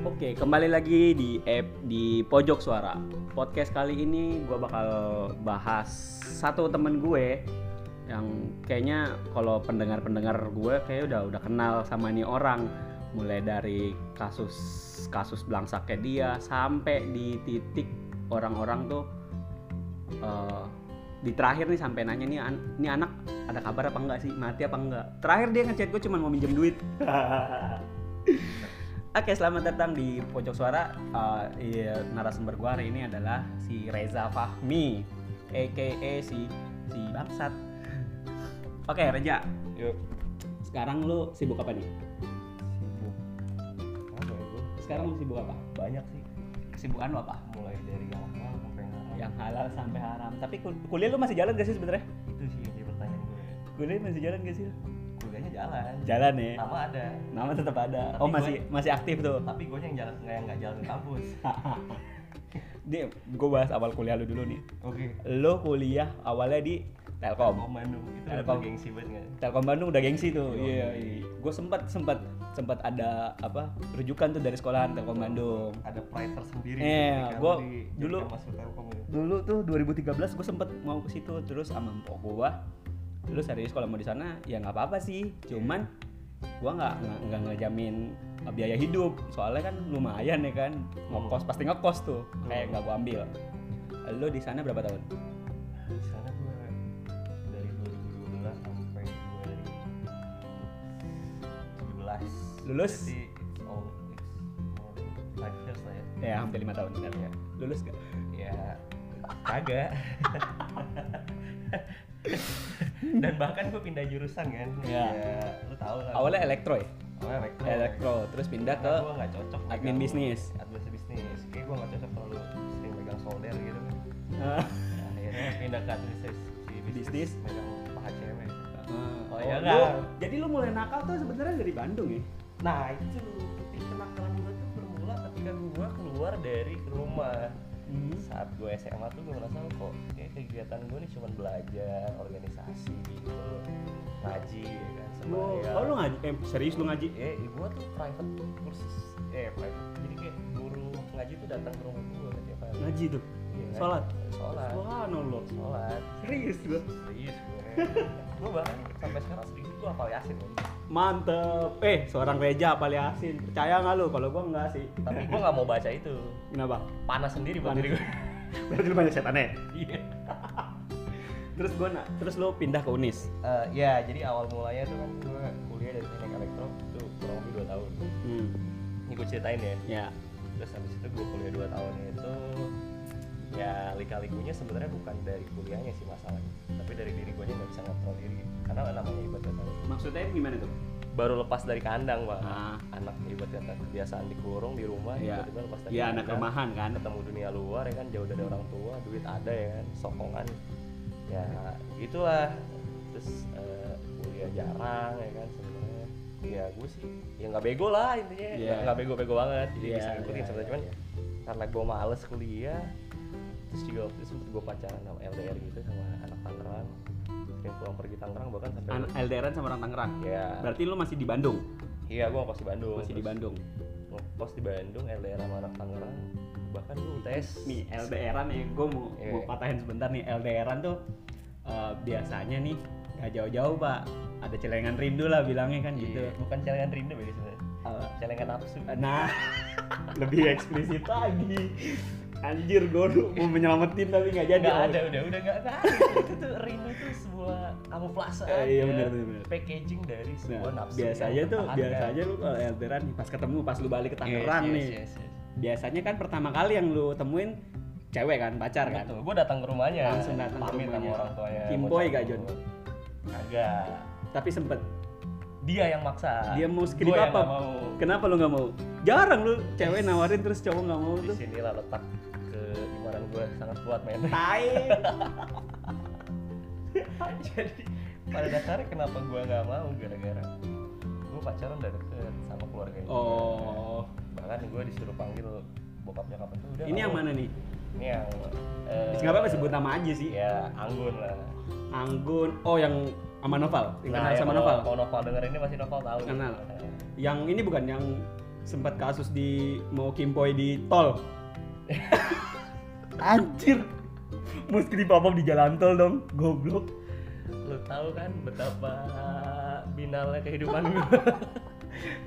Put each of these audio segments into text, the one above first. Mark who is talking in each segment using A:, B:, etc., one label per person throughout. A: Oke, kembali lagi di app di pojok suara. Podcast kali ini gue bakal bahas satu temen gue yang kayaknya kalau pendengar-pendengar gue kayak udah udah kenal sama nih orang mulai dari kasus kasus blangsaknya dia sampai di titik orang-orang tuh eh, di terakhir nih sampai nanya nih an- nih anak ada kabar apa enggak sih mati apa enggak terakhir dia ngechat gue cuma mau minjem duit Oke, selamat datang di Pojok Suara. Uh, iya, narasumber gua hari ini adalah si Reza Fahmi, aka si si bangsat. Oke, Reza,
B: Yuk.
A: sekarang lu sibuk apa nih?
B: Sibuk. Apa ya gue?
A: Sekarang lu sibuk apa?
B: banyak sih.
A: Kesibukan lu apa?
B: Mulai dari yang halal sampai yang haram.
A: Yang halal sampai haram. Tapi kul- kuliah lu masih jalan gak sih sebenarnya?
B: Itu sih yang jadi pertanyaan gue.
A: Kuliah masih jalan gak sih?
B: Kuliahnya jalan.
A: Jalan ya.
B: Nama ada.
A: Nama tetap ada.
B: Tapi
A: Oh,
B: gua-
A: masih masih aktif tuh.
B: Tapi gue yang jalan nggak yang nggak jalan ke kampus.
A: Dia, gue bahas awal kuliah lu dulu nih.
B: Oke.
A: Lu kuliah awalnya di Telkom.
B: Om Bandung itu
A: Telkom.
B: udah gengsi banget nggak?
A: Telkom Bandung udah gengsi tuh.
B: Iya.
A: Iya. Gue sempat sempat sempat ada apa rujukan tuh dari sekolahan Telkom Bandung.
B: Ada pride tersendiri.
A: Eh,
B: ketika lu
A: gua
B: di- ketika
A: dulu-
B: masuk gitu. telkom itu.
A: Dulu tuh 2013 gue sempet mau ke situ terus sama mpok gue. Terus serius kalau mau di sana ya nggak apa-apa sih. Cuman gue nggak nggak- nggak ngejamin eh, biaya hidup soalnya kan lumayan ya kan ngekos pasti ngekos tuh kayak nggak gue ambil lo di sana berapa tahun
B: Di sana gue dari 2012 sampai 2017.
A: Lulus?
B: Jadi it's all it's more than five years lah ya.
A: ya hampir lima tahun benar.
B: Iya.
A: lulus gak
B: ya kagak dan bahkan gue pindah jurusan kan
A: Iya.
B: lu tau lah
A: awalnya elektro ya
B: awalnya elektro
A: elektro terus pindah ke
B: gue nggak cocok
A: admin
B: pegang-
A: bisnis.
B: admin bisnis kayak gue nggak cocok terlalu sering pegang solder gitu kan
A: Iya. Oh,
B: Nah, akhirnya pindah ke administrasi
A: Bisnis.
B: pegang paha cewek
A: Oh,
B: ya
A: lu-
B: kan?
A: Jadi lu mulai nakal tuh sebenarnya dari Bandung ya?
B: nah itu titik kenakalan gue tuh bermula ketika gue keluar dari rumah
A: Hmm.
B: saat gue SMA tuh gue merasa kok kayak kegiatan gue nih cuman belajar organisasi gitu ngaji ya kan
A: Lu,
B: sembahyang
A: oh, lu ngaji? Eh, serius lu ngaji?
B: eh gue tuh private kursus eh private jadi kayak guru ngaji tuh datang ke rumah gue tiap hari
A: Ngaji tuh?
B: Iya, ngaji.
A: Sholat?
B: sholat
A: Subhanallah.
B: sholat
A: Serius gua.
B: serius gue gue bahkan sampai sekarang sedikit gue hafal yasin kan
A: Mantep. Eh, seorang Reja apal Yasin. Percaya nggak lu? Kalau gua enggak sih.
B: tapi gue nggak mau baca itu
A: Kenapa?
B: panas sendiri buat
A: Panas.
B: diri gue
A: Berarti lu banyak setan ya?
B: iya
A: Terus gua nak, terus lu pindah ke Unis.
B: Eh, ya jadi awal mulanya tuh kan gue kuliah dari teknik elektro tuh kurang lebih dua tahun
A: Hmm.
B: ini gue ceritain ya
A: Ya.
B: terus habis itu gue kuliah 2 tahun itu ya lika-likunya sebenarnya bukan dari kuliahnya sih masalahnya tapi dari diri gue nggak bisa ngontrol diri karena namanya ibadah tahun
A: Maksudnya gimana tuh?
B: baru lepas dari kandang pak
A: Ah.
B: anak ibadah kata kebiasaan dikurung di rumah
A: Iya.
B: tiba-tiba lepas dari
A: Ya anak rumahan kan.
B: ketemu dunia luar ya kan jauh dari orang tua duit ada ya kan sokongan ya gitulah terus eh, kuliah jarang ya kan sebenarnya ya gue sih ya nggak bego lah intinya
A: Iya.
B: nggak nggak bego-bego banget jadi
A: Iya,
B: bisa ngikutin
A: iya,
B: sebenarnya cuman
A: iya.
B: karena gue males kuliah terus juga waktu itu sempet gue pacaran sama LDR gitu sama anak Tangerang sering pulang pergi Tangerang bahkan sampai
A: An LDRan sama orang Tangerang.
B: ya
A: Berarti lu masih di Bandung?
B: iya gue ngekos di Bandung
A: Masih di
B: Terus
A: Bandung.
B: ngekos di Bandung LDR sama anak Tangerang bahkan gue tes
A: nih LDRan ya gue mau
B: Iya.
A: mau patahin sebentar nih LDRan tuh eh, biasanya nih nggak jauh-jauh pak ada celengan rindu lah bilangnya kan gitu
B: Iya, bukan celengan rindu ya sebenarnya
A: Eh,
B: celengan nafsu
A: nah lebih eksplisit lagi anjir gue mau menyelamatin tapi nggak jadi
B: nggak Iya, ada udah udah nggak nggak ada itu tuh rindu tuh sebuah kamuflase
A: Eh, iya,
B: aja.
A: bener, bener, bener.
B: packaging dari sebuah
A: Nah,
B: nafsu
A: biasanya
B: yang
A: tuh
B: tertahan, kan?
A: biasanya lu kalau LDRan nih, pas ketemu pas lu balik ke
B: Yes,
A: Tangerang
B: yes,
A: nih
B: yes, yes.
A: biasanya kan pertama kali yang lu temuin cewek kan pacar kan
B: Betul, gue datang ke rumahnya
A: Langsung datang ke
B: pamit sama
A: rumahnya.
B: orang tuanya mau
A: Kimboy
B: cabut.
A: gak, Jon?
B: kagak
A: tapi sempet
B: dia yang maksa
A: dia mau skrip
B: Gua yang
A: apa
B: nggak mau
A: kenapa lu nggak mau jarang lu cewek nawarin terus cowok nggak mau
B: di
A: tuh
B: sinilah letak keimanan gue sangat kuat men
A: tai
B: jadi pada dasarnya kenapa gue nggak mau gara-gara gue pacaran udah deket sama keluarganya
A: oh
B: bahkan gue disuruh panggil bokap nyokap itu udah
A: ini yang
B: kamu-
A: mana nih
B: ini yang eh,
A: nggak apa-apa sebut nama aja sih
B: ya Anggun lah
A: Anggun oh yang sama Noval yang kenal
B: ya,
A: sama
B: kalau-
A: Noval
B: kalau Noval denger ini masih Noval tahu
A: Kenal.
B: Nah,
A: yang ini bukan yang sempat kasus di mau kimpoi di tol anjir mesti dipapam di jalan tol dong goblok
B: Lu tahu kan betapa binalnya kehidupan gue.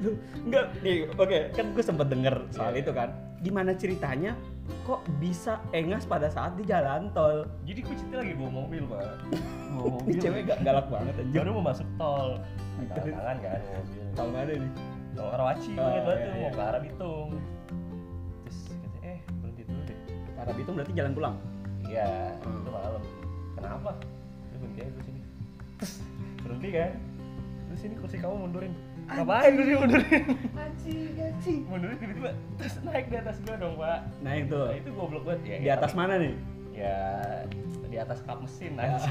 A: lu enggak nih oke kan gue sempet denger soal itu kan gimana ceritanya kok bisa engas pada saat di jalan tol
B: Jadi gue cerita lagi bawa mobil, Pak. Bawa
A: ini
B: Oh, mobil.
A: cewek gak galak banget anjir
B: Baru mau masuk tol.
A: Terus?
B: Tangan kan mobil.
A: tau mana nih
B: Tol Karawaci
A: Oh,
B: banget
A: iya,
B: banget tuh
A: iya.
B: mau ke arah Bitung. Terus kata eh berhenti dulu deh.
A: Arab itu berarti jalan pulang
B: Iya,
A: Hmm.
B: itu malam. Kenapa? Lu berhenti aja dulu sini. Terus berhenti kan? Terus sini kursi kamu mundurin. Ngapain kursi mundurin?
A: anjing anjing
B: mundurin tiba-tiba terus naik di atas gua dong, Pak.
A: naik tuh
B: Nah, itu goblok banget ya.
A: di atas
B: tapi-
A: mana nih
B: Ya di atas kap mesin aja.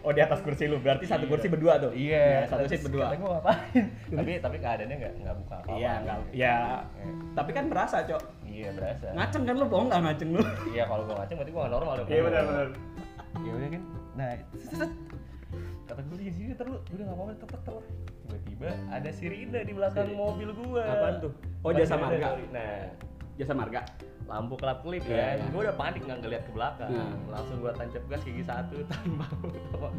A: oh di atas kursi lu berarti satu
B: Iya.
A: kursi berdua tuh Nah,
B: Iya,
A: satu
B: terus
A: seat berdua
B: Kata gua ngapain? tapi tapi keadaannya nggak nggak buka apa-apa.
A: iya enggak ya
B: Eh,
A: tapi kan berasa cok
B: Iya, berasa.
A: ngaceng kan lu bohong nggak ngaceng lu
B: Iya, kalau gua ngaceng berarti gua nggak normal
A: Iya,
B: dong. ya udah kan nah set, set. kata gue di sini terus udah nggak apa-apa tetep terus tiba-tiba ada sirine di belakang
A: Sirine.
B: mobil gua
A: Apaan tuh? Oh,
B: Bukan
A: jasa
B: sirine,
A: marga.
B: sorry. nah
A: jasa marga
B: lampu kelap kelip
A: Iya,
B: kan
A: iya.
B: gua udah panik nggak ngeliat ke belakang
A: Hmm.
B: langsung gua tancap gas gigi satu tambah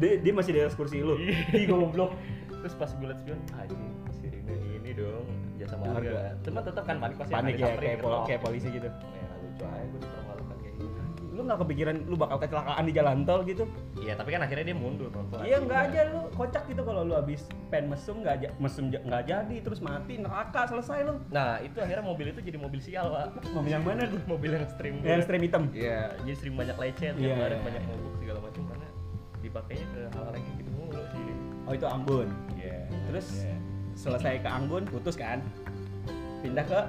A: dia, dia masih di atas kursi lu
B: Iya.
A: di goblok
B: terus pas gue liat spion anjing sirine ini dong jasa marga
A: Marga.
B: kan cuma tetep kan panik pasti
A: panik ya kayak, pol-
B: kayak
A: kayak polisi gitu
B: Ya, lucu aja gue super malukan kayak gitu
A: lu nggak kepikiran lu bakal kecelakaan di jalan tol gitu
B: iya tapi kan akhirnya dia mundur Nah, pelan-pelan.
A: iya nggak aja lu kocak gitu kalau lu habis pen mesum nggak aja mesum ja- nggak jadi terus mati neraka selesai lu
B: Nah, itu akhirnya mobil itu jadi mobil sial, Pak.
A: mobil yang mana tuh
B: Mobil yang stream.
A: yang stream hitam
B: Iya, jadi sering banyak lecet,
A: Iya,
B: yeah, kemarin
A: iya,
B: banyak
A: iya.
B: mabuk segala macam karena dipakainya ke hal-hal yang kayak gitu mulu sih.
A: oh itu Ambon
B: Iya.
A: Terus?
B: iya.
A: selesai ke Ambon putus kan pindah ke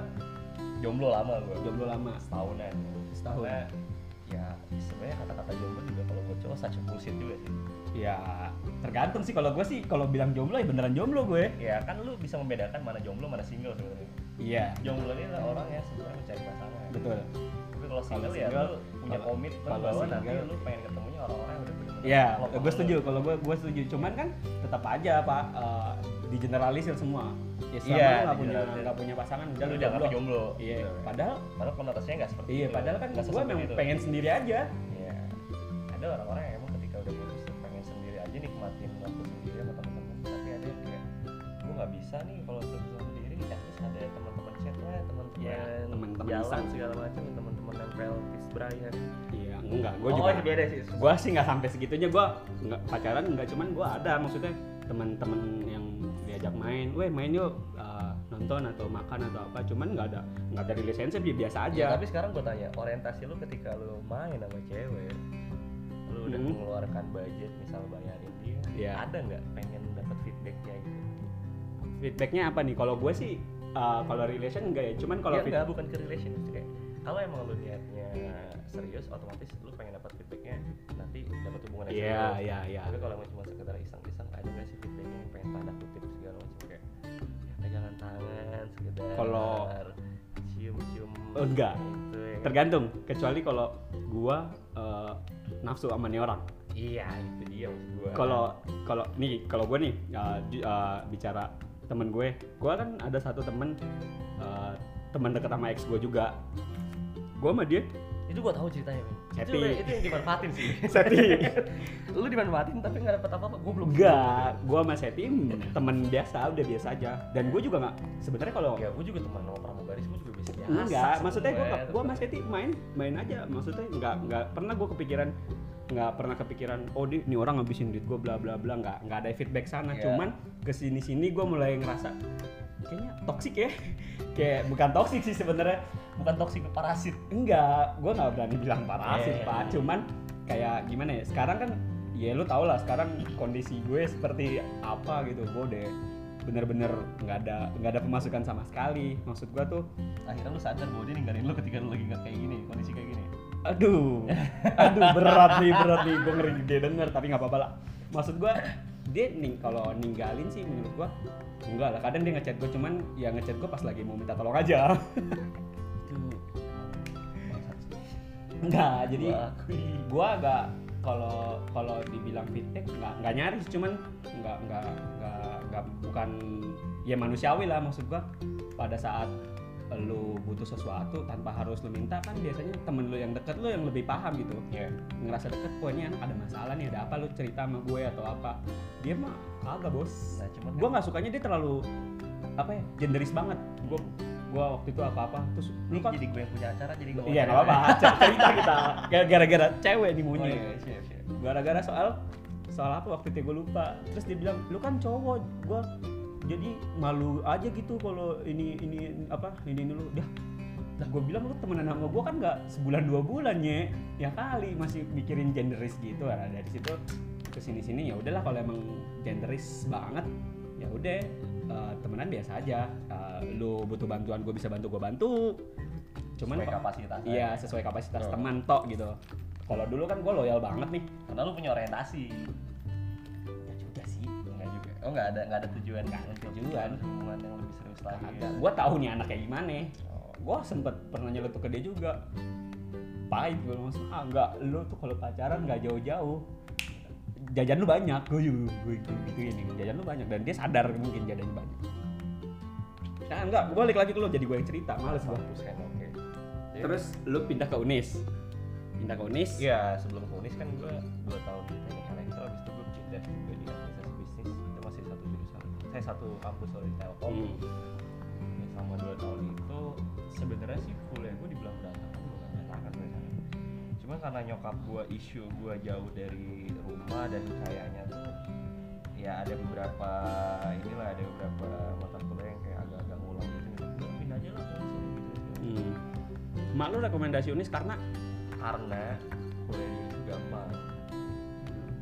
B: jomblo lama gua.
A: jomblo lama
B: Setahunan.
A: Setahun.
B: Karena, ya sebenarnya kata-kata jomblo juga kalau buat cowok such a bullshit juga sih.
A: ya tergantung sih kalau gue sih kalau bilang jomblo ya beneran jomblo gue
B: Ya kan lu bisa membedakan mana jomblo mana single sebenarnya.
A: iya
B: Jomblo ini adalah orang yang sebenarnya mencari pasangan.
A: betul
B: Tapi kalau single, ya
A: single,
B: lu punya
A: kalau-
B: komitmen
A: kalau
B: bahwa nanti
A: single-
B: lu pengen ketemunya orang-orang yang udah bener-bener
A: Iya,
B: klop
A: gue
B: sama
A: setuju. Kalau gue gue setuju. Cuman kan tetap aja pak eh, digeneralisir semua. Ya selama lu
B: Iya,
A: nggak punya
B: digeneralisir.
A: nggak punya pasangan
B: lu.
A: udah
B: Lu
A: lu
B: jangan
A: jomblo.
B: jomblo.
A: Iya.
B: Gitu.
A: Padahal
B: Padahal konotasinya nggak seperti
A: iya
B: itu.
A: padahal kan
B: Nggak
A: gue
B: sesempit
A: memang
B: itu.
A: pengen sendiri aja.
B: Iya. Ada orang-orang yang emang ketika udah putus tuh pengen sendiri aja nikmatin waktu sendiri sama teman-teman. Tapi ada yang kayak gue nggak bisa nih kalau terus sendiri. At least ada teman-teman chat lah, teman-teman
A: Iya, teman-teman
B: jalan
A: iseng.
B: segala macam, teman-teman nempel tips Brian.
A: Iya, enggak. Gue
B: oh,
A: juga.
B: itu beda sih.
A: Gue sih nggak sampai segitunya. Gue nggak pacaran nggak. Cuman gue ada maksudnya teman-teman yang diajak main, weh main yuk eh, nonton atau makan atau apa. Cuman nggak ada nggak ada relationship ya biasa aja.
B: Ya, tapi sekarang gue tanya, orientasi lu ketika lu main sama cewek, lu udah
A: Hmm.
B: mengeluarkan budget misal bayarin dia,
A: Iya.
B: ada nggak pengen dapat feedbacknya gitu?
A: Feedbacknya apa nih? Kalau gue sih eh, kalau relation enggak ya. Cuman kalau
B: kalau ya,
A: feed-
B: enggak, bukan ke relation itu kayak kalau emang lu niatnya serius otomatis lu pengen dapat feedbacknya nanti dapat hubungan yang
A: Iya,
B: serius.
A: iya, iya.
B: tapi kalau emang cuma sekedar iseng-iseng ada nggak sih feedbacknya yang pengen tanda kutip segala macam kayak ya, pegangan tangan sekedar
A: Kalau-
B: cium-cium
A: Oh, enggak.
B: itu ya kan?
A: tergantung kecuali kalau gua eh, nafsu sama nih orang
B: iya itu dia maksud gua
A: kalau kalau nih kalau gua nih eh, ju- eh, bicara temen gue gua kan ada satu temen eh, temen deket sama ex gua juga gua sama dia
B: itu gua tahu ceritanya men itu,
A: Happy.
B: itu yang dimanfaatin sih
A: Seti
B: lu dimanfaatin tapi nggak dapat apa-apa gua belum
A: enggak gua sama Seti mm, temen biasa udah biasa aja dan gua juga nggak sebenarnya kalau
B: ya gua juga teman sama pramugaris gua juga bisa biasa
A: enggak maksudnya gua
B: sebenarnya.
A: gua sama Seti main main aja maksudnya nggak nggak pernah gua kepikiran nggak pernah kepikiran oh di ini orang ngabisin duit gua bla bla bla nggak nggak ada feedback sana
B: Iya.
A: cuman kesini sini gua mulai ngerasa kayaknya toksik ya kayak bukan toksik sih sebenarnya
B: bukan toksik parasit
A: enggak gua nggak berani bilang parasit
B: Iya.
A: pak cuman kayak gimana ya sekarang kan ya lu tau lah sekarang kondisi gue seperti apa gitu gue deh bener-bener nggak ada nggak ada pemasukan sama sekali maksud gua tuh
B: akhirnya lu sadar bahwa dia ninggalin lu ketika lu lagi nggak kayak gini kondisi kayak gini
A: aduh aduh berat nih berat nih gue ngeri dia denger tapi nggak apa-apa lah maksud gue dia nih kalau ninggalin sih menurut gue enggak lah kadang dia ngechat gue cuman ya ngechat gue pas lagi mau minta tolong aja enggak jadi gue agak kalau kalau dibilang feedback nggak nggak nyaris cuman nggak nggak nggak nggak bukan ya manusiawi lah maksud gue pada saat lu butuh sesuatu tanpa harus lu minta kan biasanya temen lu yang deket lu yang lebih paham gitu
B: Iya.
A: ngerasa deket "Wah, ini ada masalah nih ada apa lu cerita sama gue atau apa dia mah kagak bos
B: Nah, cuman
A: gue nggak sukanya dia terlalu apa ya genderis banget gue gua waktu itu apa apa terus lu kan
B: kan jadi gue yang punya acara jadi gue
A: iya nggak apa-apa cerita kita gara-gara cewek nih
B: Oh,
A: maunya
B: iya, siap, siap.
A: gara-gara soal soal apa waktu itu gue lupa terus dia bilang lu kan cowok gue jadi malu aja gitu kalau ini ini apa ini ini lu dah lah gue bilang lu temenan sama gue kan nggak sebulan dua bulan Nye. ya kali masih mikirin genderis gitu nah, dari situ ke sini sini ya udahlah kalau emang genderis banget ya udah eh, temenan biasa aja Eh, lu butuh bantuan gue bisa bantu gue bantu cuman
B: Sesuai kapasitas kan. aja.
A: iya sesuai kapasitas
B: Betul.
A: teman tok gitu kalau dulu kan gue loyal banget nih
B: karena lu punya orientasi
A: Ya juga sih.
B: enggak juga oh enggak ada enggak ada tujuan
A: Nggak ada
B: untuk
A: tujuan.
B: hubungan yang lebih serius lagi
A: Kagak. Iya. Gua tahu nih anak kayak gimana.
B: Oh,
A: Gua sempet pernah nyeletuk ke dia juga. Pahit gue langsung. Ah enggak, lu tuh kalau pacaran nggak jauh-jauh. Jajan lu banyak, gue juga gue gitu ini. Jajan lu banyak dan dia sadar mungkin jajannya banyak. Nah, enggak, gue balik lagi ke lu jadi gue yang cerita, males gua.
B: bagus kan oke Jadi-
A: Terus lu pindah ke Unis. Pindah ke Unis.
B: Iya, sebelum kunis kan gue 2 tahun di teknik elektro, habis itu gue pindah juga di administrasi bisnis Itu masih satu jurusan, saya satu kampus sorry, di Telkom
A: Hmm.
B: Ya, Selama 2 tahun itu, sebenarnya sih kuliah gue dibilang berantakan, bukan berantakan sebenarnya Cuma karena nyokap gue isu gue jauh dari rumah dan kayaknya tuh Ya ada beberapa, inilah ada beberapa mata kuliah yang kayak agak-agak ngulang gitu Udah, Pindah aja lah, kuliah sini, gitu, gitu
A: Hmm. Mak lu rekomendasi Unis karena
B: karena kuliah di itu gampang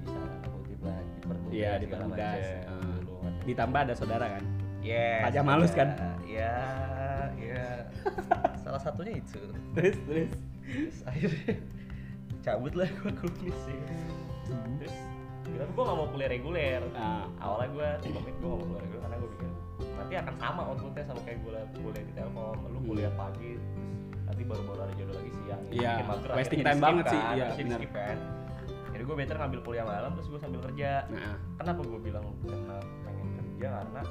B: bisa kutip lah dipermudah
A: Iya,
B: segala
A: dipermudah. Ah.
B: macam.
A: Heeh.
B: Dulu kan.
A: ditambah ada saudara kan.
B: Yes,
A: Pajak malus kan?
B: ya ya salah satunya itu
A: Terus terus.
B: terus akhirnya cabut lah gue kumis ya. terus bilang gue gak mau kuliah reguler
A: Nah,
B: awalnya gue komit gue gak mau kuliah reguler karena gue pikir nanti akan sama outputnya sama kayak gue kuliah di telkom lu kuliah pagi terus nanti baru-baru ada jodoh lagi siang
A: Iya,
B: Bikin mager,
A: wasting time
B: akhirnya di-skip
A: banget sih,
B: kan,
A: iya,
B: terus
A: benar.
B: di-skip kan. jadi gue better ngambil kuliah malam terus gue sambil kerja
A: nah.
B: kenapa gue bilang karena pengen kerja karena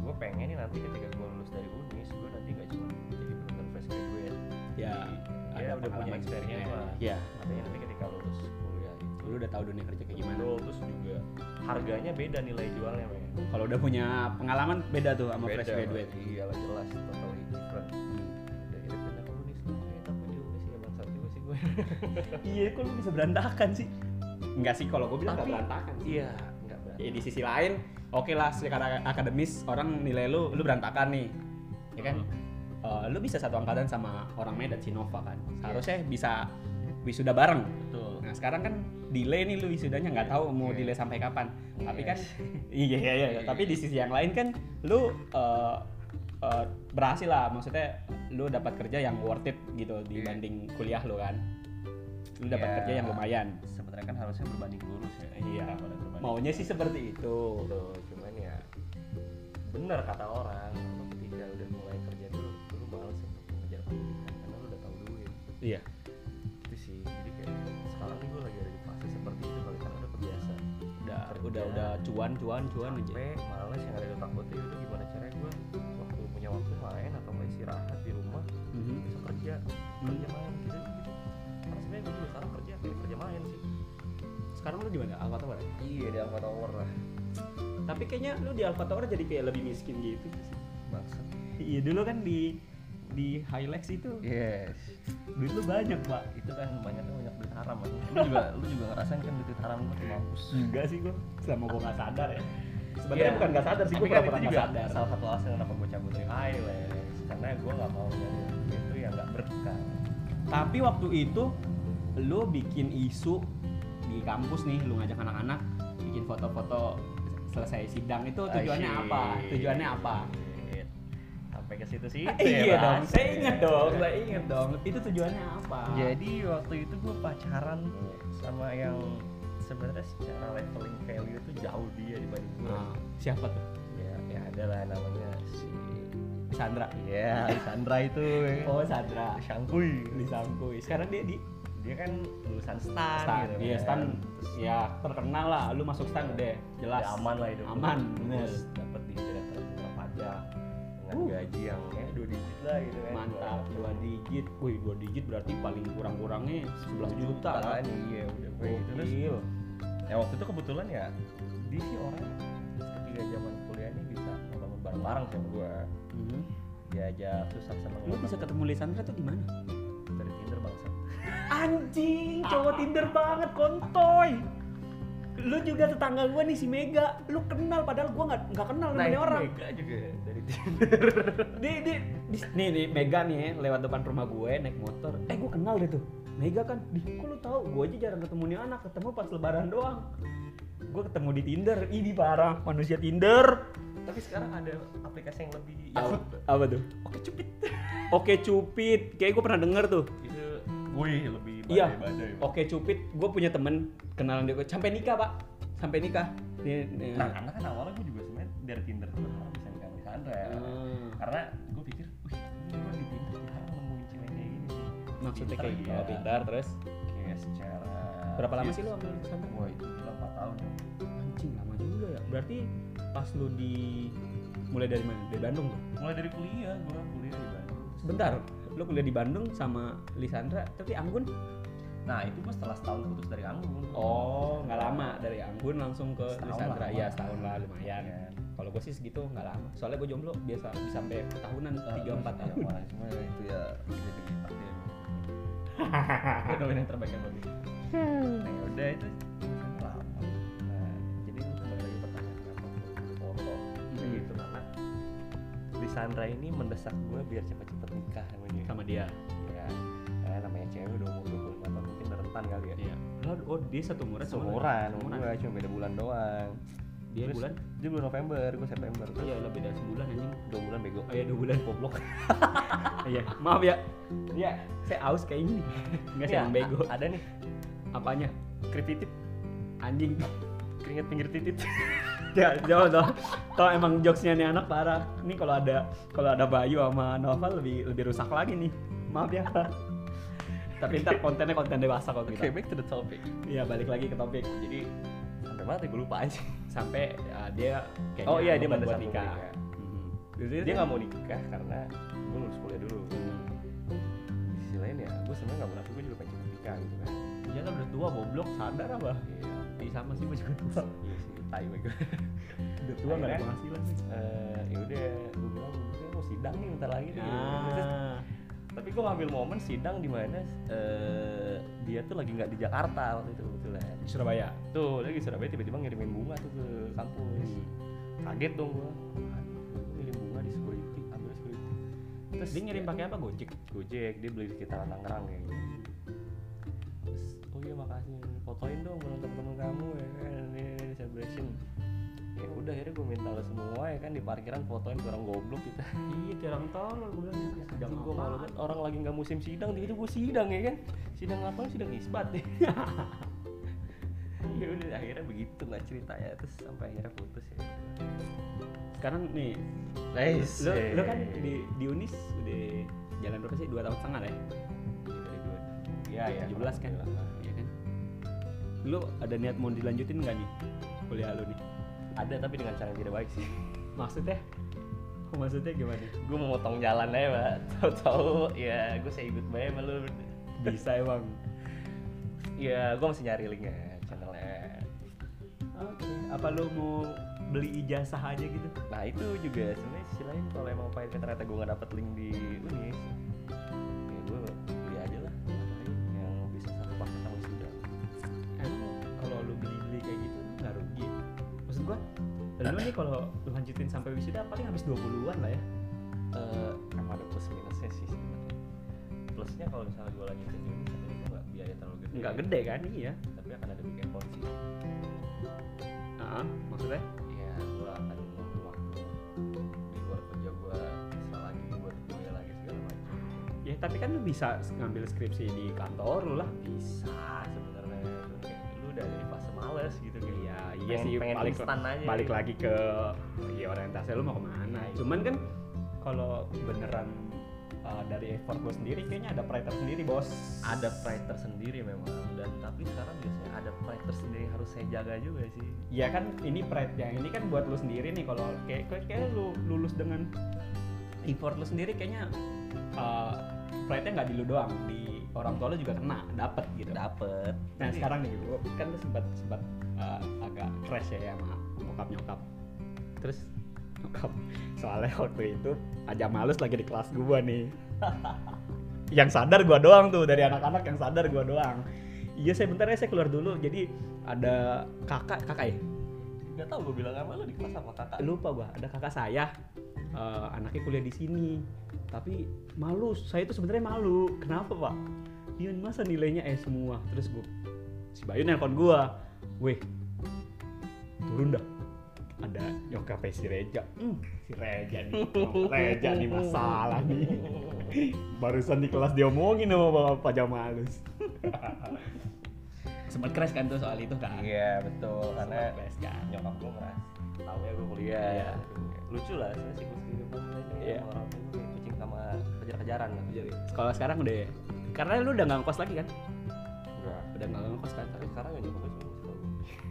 B: gue pengen nih nanti ketika gue lulus dari unis gue nanti gak cuma jadi bener fresh graduate
A: Ya,
B: Jadi, ya
A: ada
B: udah punya
A: pengalaman.
B: experience
A: Iya.
B: lah
A: Iya.
B: katanya nanti ketika lulus kuliah itu
A: lu udah tahu dunia kerja kayak gimana
B: Betul, terus juga harganya beda nilai jualnya men
A: kalau udah punya pengalaman beda tuh sama fresh
B: Beda,
A: graduate
B: iya lah jelas totally different ya kita pindah ke Unis lah ya tapi di Unis ya bangsat juga sih gue
A: iya kok lu bisa berantakan sih enggak sih kalau gue bilang
B: Tapi-
A: nggak berantakan sih
B: iya nggak berani
A: ya, di sisi lain oke lah secara akademis orang nilai lu lu berantakan nih ya
B: Hmm.
A: kan Eh, lu bisa satu angkatan sama orang Medan Sinova kan
B: Iya.
A: harusnya bisa wisuda bareng
B: betul
A: Nah sekarang kan delay nih lu wisudanya nggak tahu mau
B: Iya.
A: delay sampai kapan. Tapi kan
B: Yes.
A: iya iya iya.
B: Iya.
A: Tapi di sisi yang lain kan lu eh, eh, berhasil lah. Maksudnya lu dapat kerja yang worth it gitu dibanding kuliah lu kan. Lu dapat
B: Iya.
A: kerja yang lumayan.
B: sebenarnya kan harusnya berbanding lurus ya
A: Iya.
B: Nggak boleh berbanding
A: Maunya sih seperti itu.
B: Betul, cuman ya bener kata orang lu ketika udah mulai kerja dulu lu males untuk mengejar pendidikan karena lu udah tahu duit
A: Iya.
B: itu sih jadi kayak sekarang nih gue lagi ada di fase seperti itu kali karena udah kebiasaan
A: Udah
B: Kerja.
A: udah udah cuan cuan cuan aja.
B: capek males yang ada di otak gue tuh itu gimana caranya gue waktu punya waktu main atau nggak istirahat di rumah
A: Mhm.
B: besok kerja kerja main gitu gitu karena sebenarnya gue juga sekarang kerja kayak kerja main sih
A: Sekarang lu di mana? Alpha Tower. ya?
B: iya di Alfa Tower lah
A: Tapi kayaknya lu di Alpha Tower jadi kayak lebih miskin gitu. sih.
B: maksud
A: Iya dulu kan di di Hilex itu
B: yes
A: duit lu banyak pak.
B: itu kan banyak banyak duit haram kan. lu juga lu juga ngerasain kan duit haram lu tuh mampus
A: Enggak sih gua, selama gua nggak sadar ya. Sebenarnya
B: Iya.
A: bukan nggak sadar sih,
B: Tapi
A: gua
B: kan
A: pernah
B: itu
A: nggak
B: juga
A: sadar.
B: salah satu alasan kenapa gue cabut dari Highlands karena gue nggak mau nyari itu yang nggak berkah
A: Tapi waktu itu lu bikin isu di kampus nih, lu ngajak anak-anak bikin foto-foto selesai sidang itu tujuannya
B: Asyik.
A: apa? Tujuannya apa?
B: sampai ke situ sih
A: iya dong, saya inget dong, saya inget dong. Itu tujuannya apa?
B: jadi waktu itu gue pacaran tuh sama yang sebenarnya secara leveling value tuh jauh dia dibanding gue
A: Nah, siapa tuh?
B: ya ya ada lah namanya si
A: Sandra.
B: ya Sandra itu ya.
A: Oh Sandra,
B: Shangkui
A: disangkui. Sekarang dia di
B: dia kan lulusan stan,
A: Stan,
B: gitu
A: iya
B: kan.
A: Stan,
B: Terus
A: ya terkenal lah. Lu masuk Stan udah jelas.
B: udah aman lah hidup
A: Aman, bener.
B: terus dapat di direktur pajak dengan
A: Uh.
B: gaji gaji yang ya dua digit lah gitu kan
A: mantap dua digit wih dua digit berarti paling kurang-kurangnya 11 juta lah
B: kan iya udah gue gitu terus
A: Gokil.
B: ya waktu itu kebetulan ya dia sih orang ketiga zaman kuliahnya bisa ngelamun bareng-bareng sama gue
A: Mhm.
B: diajak susah seneng
A: lu bisa ketemu Lisandra tuh di mana
B: dari Tinder Nah, bangsa
A: anjing cowok Tinder banget kontoy lu juga tetangga gua nih si Mega lu kenal padahal gua nggak nggak kenal namanya
B: itu
A: orang
B: Mega juga dari Tinder
A: di, di, di- nih nih Mega nih eh, lewat depan rumah gue naik motor eh gue kenal deh tuh Mega kan di kok lu tahu gue aja jarang ketemu nih anak ketemu pas lebaran doang gue ketemu di Tinder ini parah manusia Tinder
B: tapi sekarang ada aplikasi yang lebih
A: Apa- apa tuh
B: oke cupit
A: Oke Cupid kayak gue pernah denger tuh
B: itu gue lebih
A: Iya.
B: badai-badai
A: Oke Cupid gue punya temen kenalan dia sampai nikah pak sampai nikah Dia- dia-
B: nah karena kan awalnya gue juga sebenarnya dari Tinder tuh kenal bisa nikah Sandra
A: Ah,
B: karena gue pikir wih ini gue di Tinder jarang nemuin cewek kayak gini sih
A: maksudnya
B: Pinter
A: kayak gitu
B: dia.
A: Oh, pintar terus
B: kayak secara
A: Berapa lama sih lu ambil Sandra?
B: Wah itu gila 4 tahun ya
A: anjing lama juga ya berarti pas lu di mulai dari mana dari Bandung tuh
B: mulai dari kuliah gue kuliah di Bandung
A: Sebentar, lu kuliah di Bandung sama Lisandra, tapi Anggun?
B: nah itu gue setelah setahun putus dari Anggun
A: Oh, nggak lama dari Anggun langsung ke
B: Setahun
A: Lisandra.
B: lah.
A: Iya, setahun lah lumayan.
B: Iya.
A: Kalau gue sih segitu nggak lama. Soalnya gue jomblo biasa bisa sampai tahunan tiga empat tahun.
B: orang semua ya, itu ya jadi dipakai gue doain yang terbaik yang lebih
A: Hmm.
B: nah udah itu kan lama nah jadi lu kembali lagi pertanyaan kenapa gua foto kayak
A: Hmm.
B: gitu karena di Sandra ini mendesak gue biar cepet-cepet nikah sama dia
A: Sama dia.
B: ya eh, namanya cewek udah umur 25 tahun mungkin udah rentan kali ya
A: Iya. Oh, oh, dia satu murah sama lu?
B: seumuran
A: Seumuran.
B: gue cuma beda bulan doang
A: Dia
B: Terus-
A: bulan?
B: dia bulan November gue September
A: Iya, lah beda sebulan anjing.
B: dua bulan bego
A: Oh iya, dua bulan goblok. Iya, maaf ya. Iya, saya aus kayaknya nih. Enggak saya
B: Iya,
A: emang bego.
B: a- ada nih
A: Apanya?
B: krititit
A: Anjing.
B: keringat pinggir titit
A: Ya, jauh toh. Toh emang jokesnya nih anak parah. Nih kalau ada kalau ada Bayu sama Nova lebih lebih rusak lagi nih. Maaf ya. Tapi ntar kontennya konten dewasa kok
B: Oke,
A: kita.
B: back to the topic.
A: Iya balik lagi ke topik. Jadi
B: Sampai mana gue lupa aja.
A: sampai uh, dia kayaknya
B: Oh iya, dia
A: buat
B: mendesak
A: buat nikah.
B: mau nikah.
A: Mhm.
B: Dia nggak mau nikah karena gue lulus kuliah dulu.
A: Hmm.
B: Di sisi lain ya, gue sebenarnya nggak munafik, gue juga pengen cepet nikah gitu kan.
A: Dia kan udah tua goblok sadar apa?
B: Iya,
A: Iya sama sih gue juga tua.
B: iya sih, tai gue.
A: Udah tua nggak ada
B: Akhirnya-
A: penghasilan.
B: Eh, ya udah, gue bilang gue mau sidang nih bentar lagi nih. Terus-
A: Nah,
B: Tapi gue ngambil momen sidang di mana eh, dia tuh lagi nggak di Jakarta waktu itu kebetulan.
A: di Surabaya.
B: Tuh, lagi di Surabaya tiba-tiba ngirimin bunga tuh ke kampus.
A: Hmm.
B: Kaget dong gue. Ngirim bunga di security, ambil security. Terus
A: Dia ngirim
B: ya,
A: pakai apa Gojek?
B: Gojek, dia beli di sekitaran Tangerang kayaknya. Terus, oh iya makasih, fotoin dong bareng temen-temen kamu ya kan, ini, ini, ini, celebration. Ya udah akhirnya gue minta lo semua ya kan di parkiran fotoin ke orang goblok kita.
A: Iya, kurang tolol gue bilang
B: gitu.
A: ya. Sedang
B: gue malu banget orang lagi nggak musim sidang, tiba-tiba gue sidang ya kan. Sidang apa? Sidang isbat ya. ya udah akhirnya begitu nggak ceritanya terus sampai akhirnya putus ya.
A: Sekarang nih
B: Nice. Eh.
A: Lo, lo kan di, di Unis udah jalan berapa sih? Dua tahun setengah lah ya?
B: Iya ya.
A: 17 kan? Iya kan? Lo ada niat mau dilanjutin nggak nih kuliah lo nih?
B: Ada tapi dengan cara yang tidak baik sih.
A: Maksudnya? Maksudnya gimana?
B: gue mau motong jalan aja pak tahu-tahu ya gue say goodbye sama lu
A: Bisa emang.
B: ya gue masih nyari linknya channelnya
A: Oke. Apa lo mau beli ijazah aja gitu?
B: nah itu juga sebenarnya sisi lain kalau emang pahitnya ternyata gue nggak dapet link di Unis ya gue beli aja lah ngapain yang bisa satu paket sama sudah
A: Emang Kan kalau lo beli-beli kayak gitu lo nggak rugi. Maksud gua, lo nih kalau lo lanjutin sampai wisuda paling habis 20-an lah ya.
B: Eh, emang ada plus minusnya sih sebenarnya plusnya kalau misalnya gue lanjutin di Unis tapi gue nggak biaya terlalu gede
A: Nggak gede kan? Iya.
B: tapi akan ada big effort sih
A: Ah, maksudnya?
B: ya gue akan mengambil waktu di luar kerja gue bisa lagi buat kuliah lagi segala macam
A: Ya tapi kan lo bisa ngambil skripsi di kantor lo lah.
B: bisa sebenarnya Cuman kayak lu udah dari fase males gitu kayak
A: Iya,
B: pengen-
A: iya sih
B: pengen
A: balik
B: instan aja Nah,
A: balik lagi ke ya orientasi lu mau kemana. Cuman kan kalau beneran uh, dari effort lu sendiri kayaknya ada pride sendiri, Bos.
B: ada pride tersendiri memang dan tapi sekarang biasanya ada pride tersendiri yang harus saya jaga juga sih
A: Ya kan ini pride yang ini kan buat lu sendiri nih kalau kayak kayak, kayak lu lulus dengan effort lu sendiri kayaknya eh pride-nya nggak di lu doang di orang tua lu juga kena dapet gitu
B: dapet
A: nah sekarang nih lu kan lu sempat sempat eh, agak crash ya sama bokap nyokap terus nyokap soalnya waktu itu aja malus lagi di kelas gua nih yang sadar gua doang tuh dari anak-anak yang sadar gua doang iya saya bentar ya saya keluar dulu jadi ada kakak kakak ya
B: nggak tau gue bilang sama lu di kelas sama kakak
A: lupa gua ada kakak saya eh, anaknya kuliah di sini tapi malu saya itu sebenarnya malu kenapa pak Yun masa nilainya E semua terus gua si Bayu nelpon gua weh turun dah ada nyokapnya si Reja Hmm, si Reja nih Reja nih masalah nih barusan di kelas diomongin sama Pak Jamalus sempat crash kan tuh soal itu kan
B: iya betul karena
A: Sempat crash kan
B: nyokap gue ngeras tahu ya gue kuliah
A: Iya.
B: lucu lah sebenarnya siklus kehidupan gue
A: Iya.
B: yeah. orang tua gue kayak kucing sama kejar-kejaran gitu. lah
A: Jadi, kalau sekarang udah ya karena lu udah nggak ngekos lagi kan
B: enggak
A: udah nggak ngekos kan
B: Nah, tapi sekarang yang nyokap gue cuma ngasih tau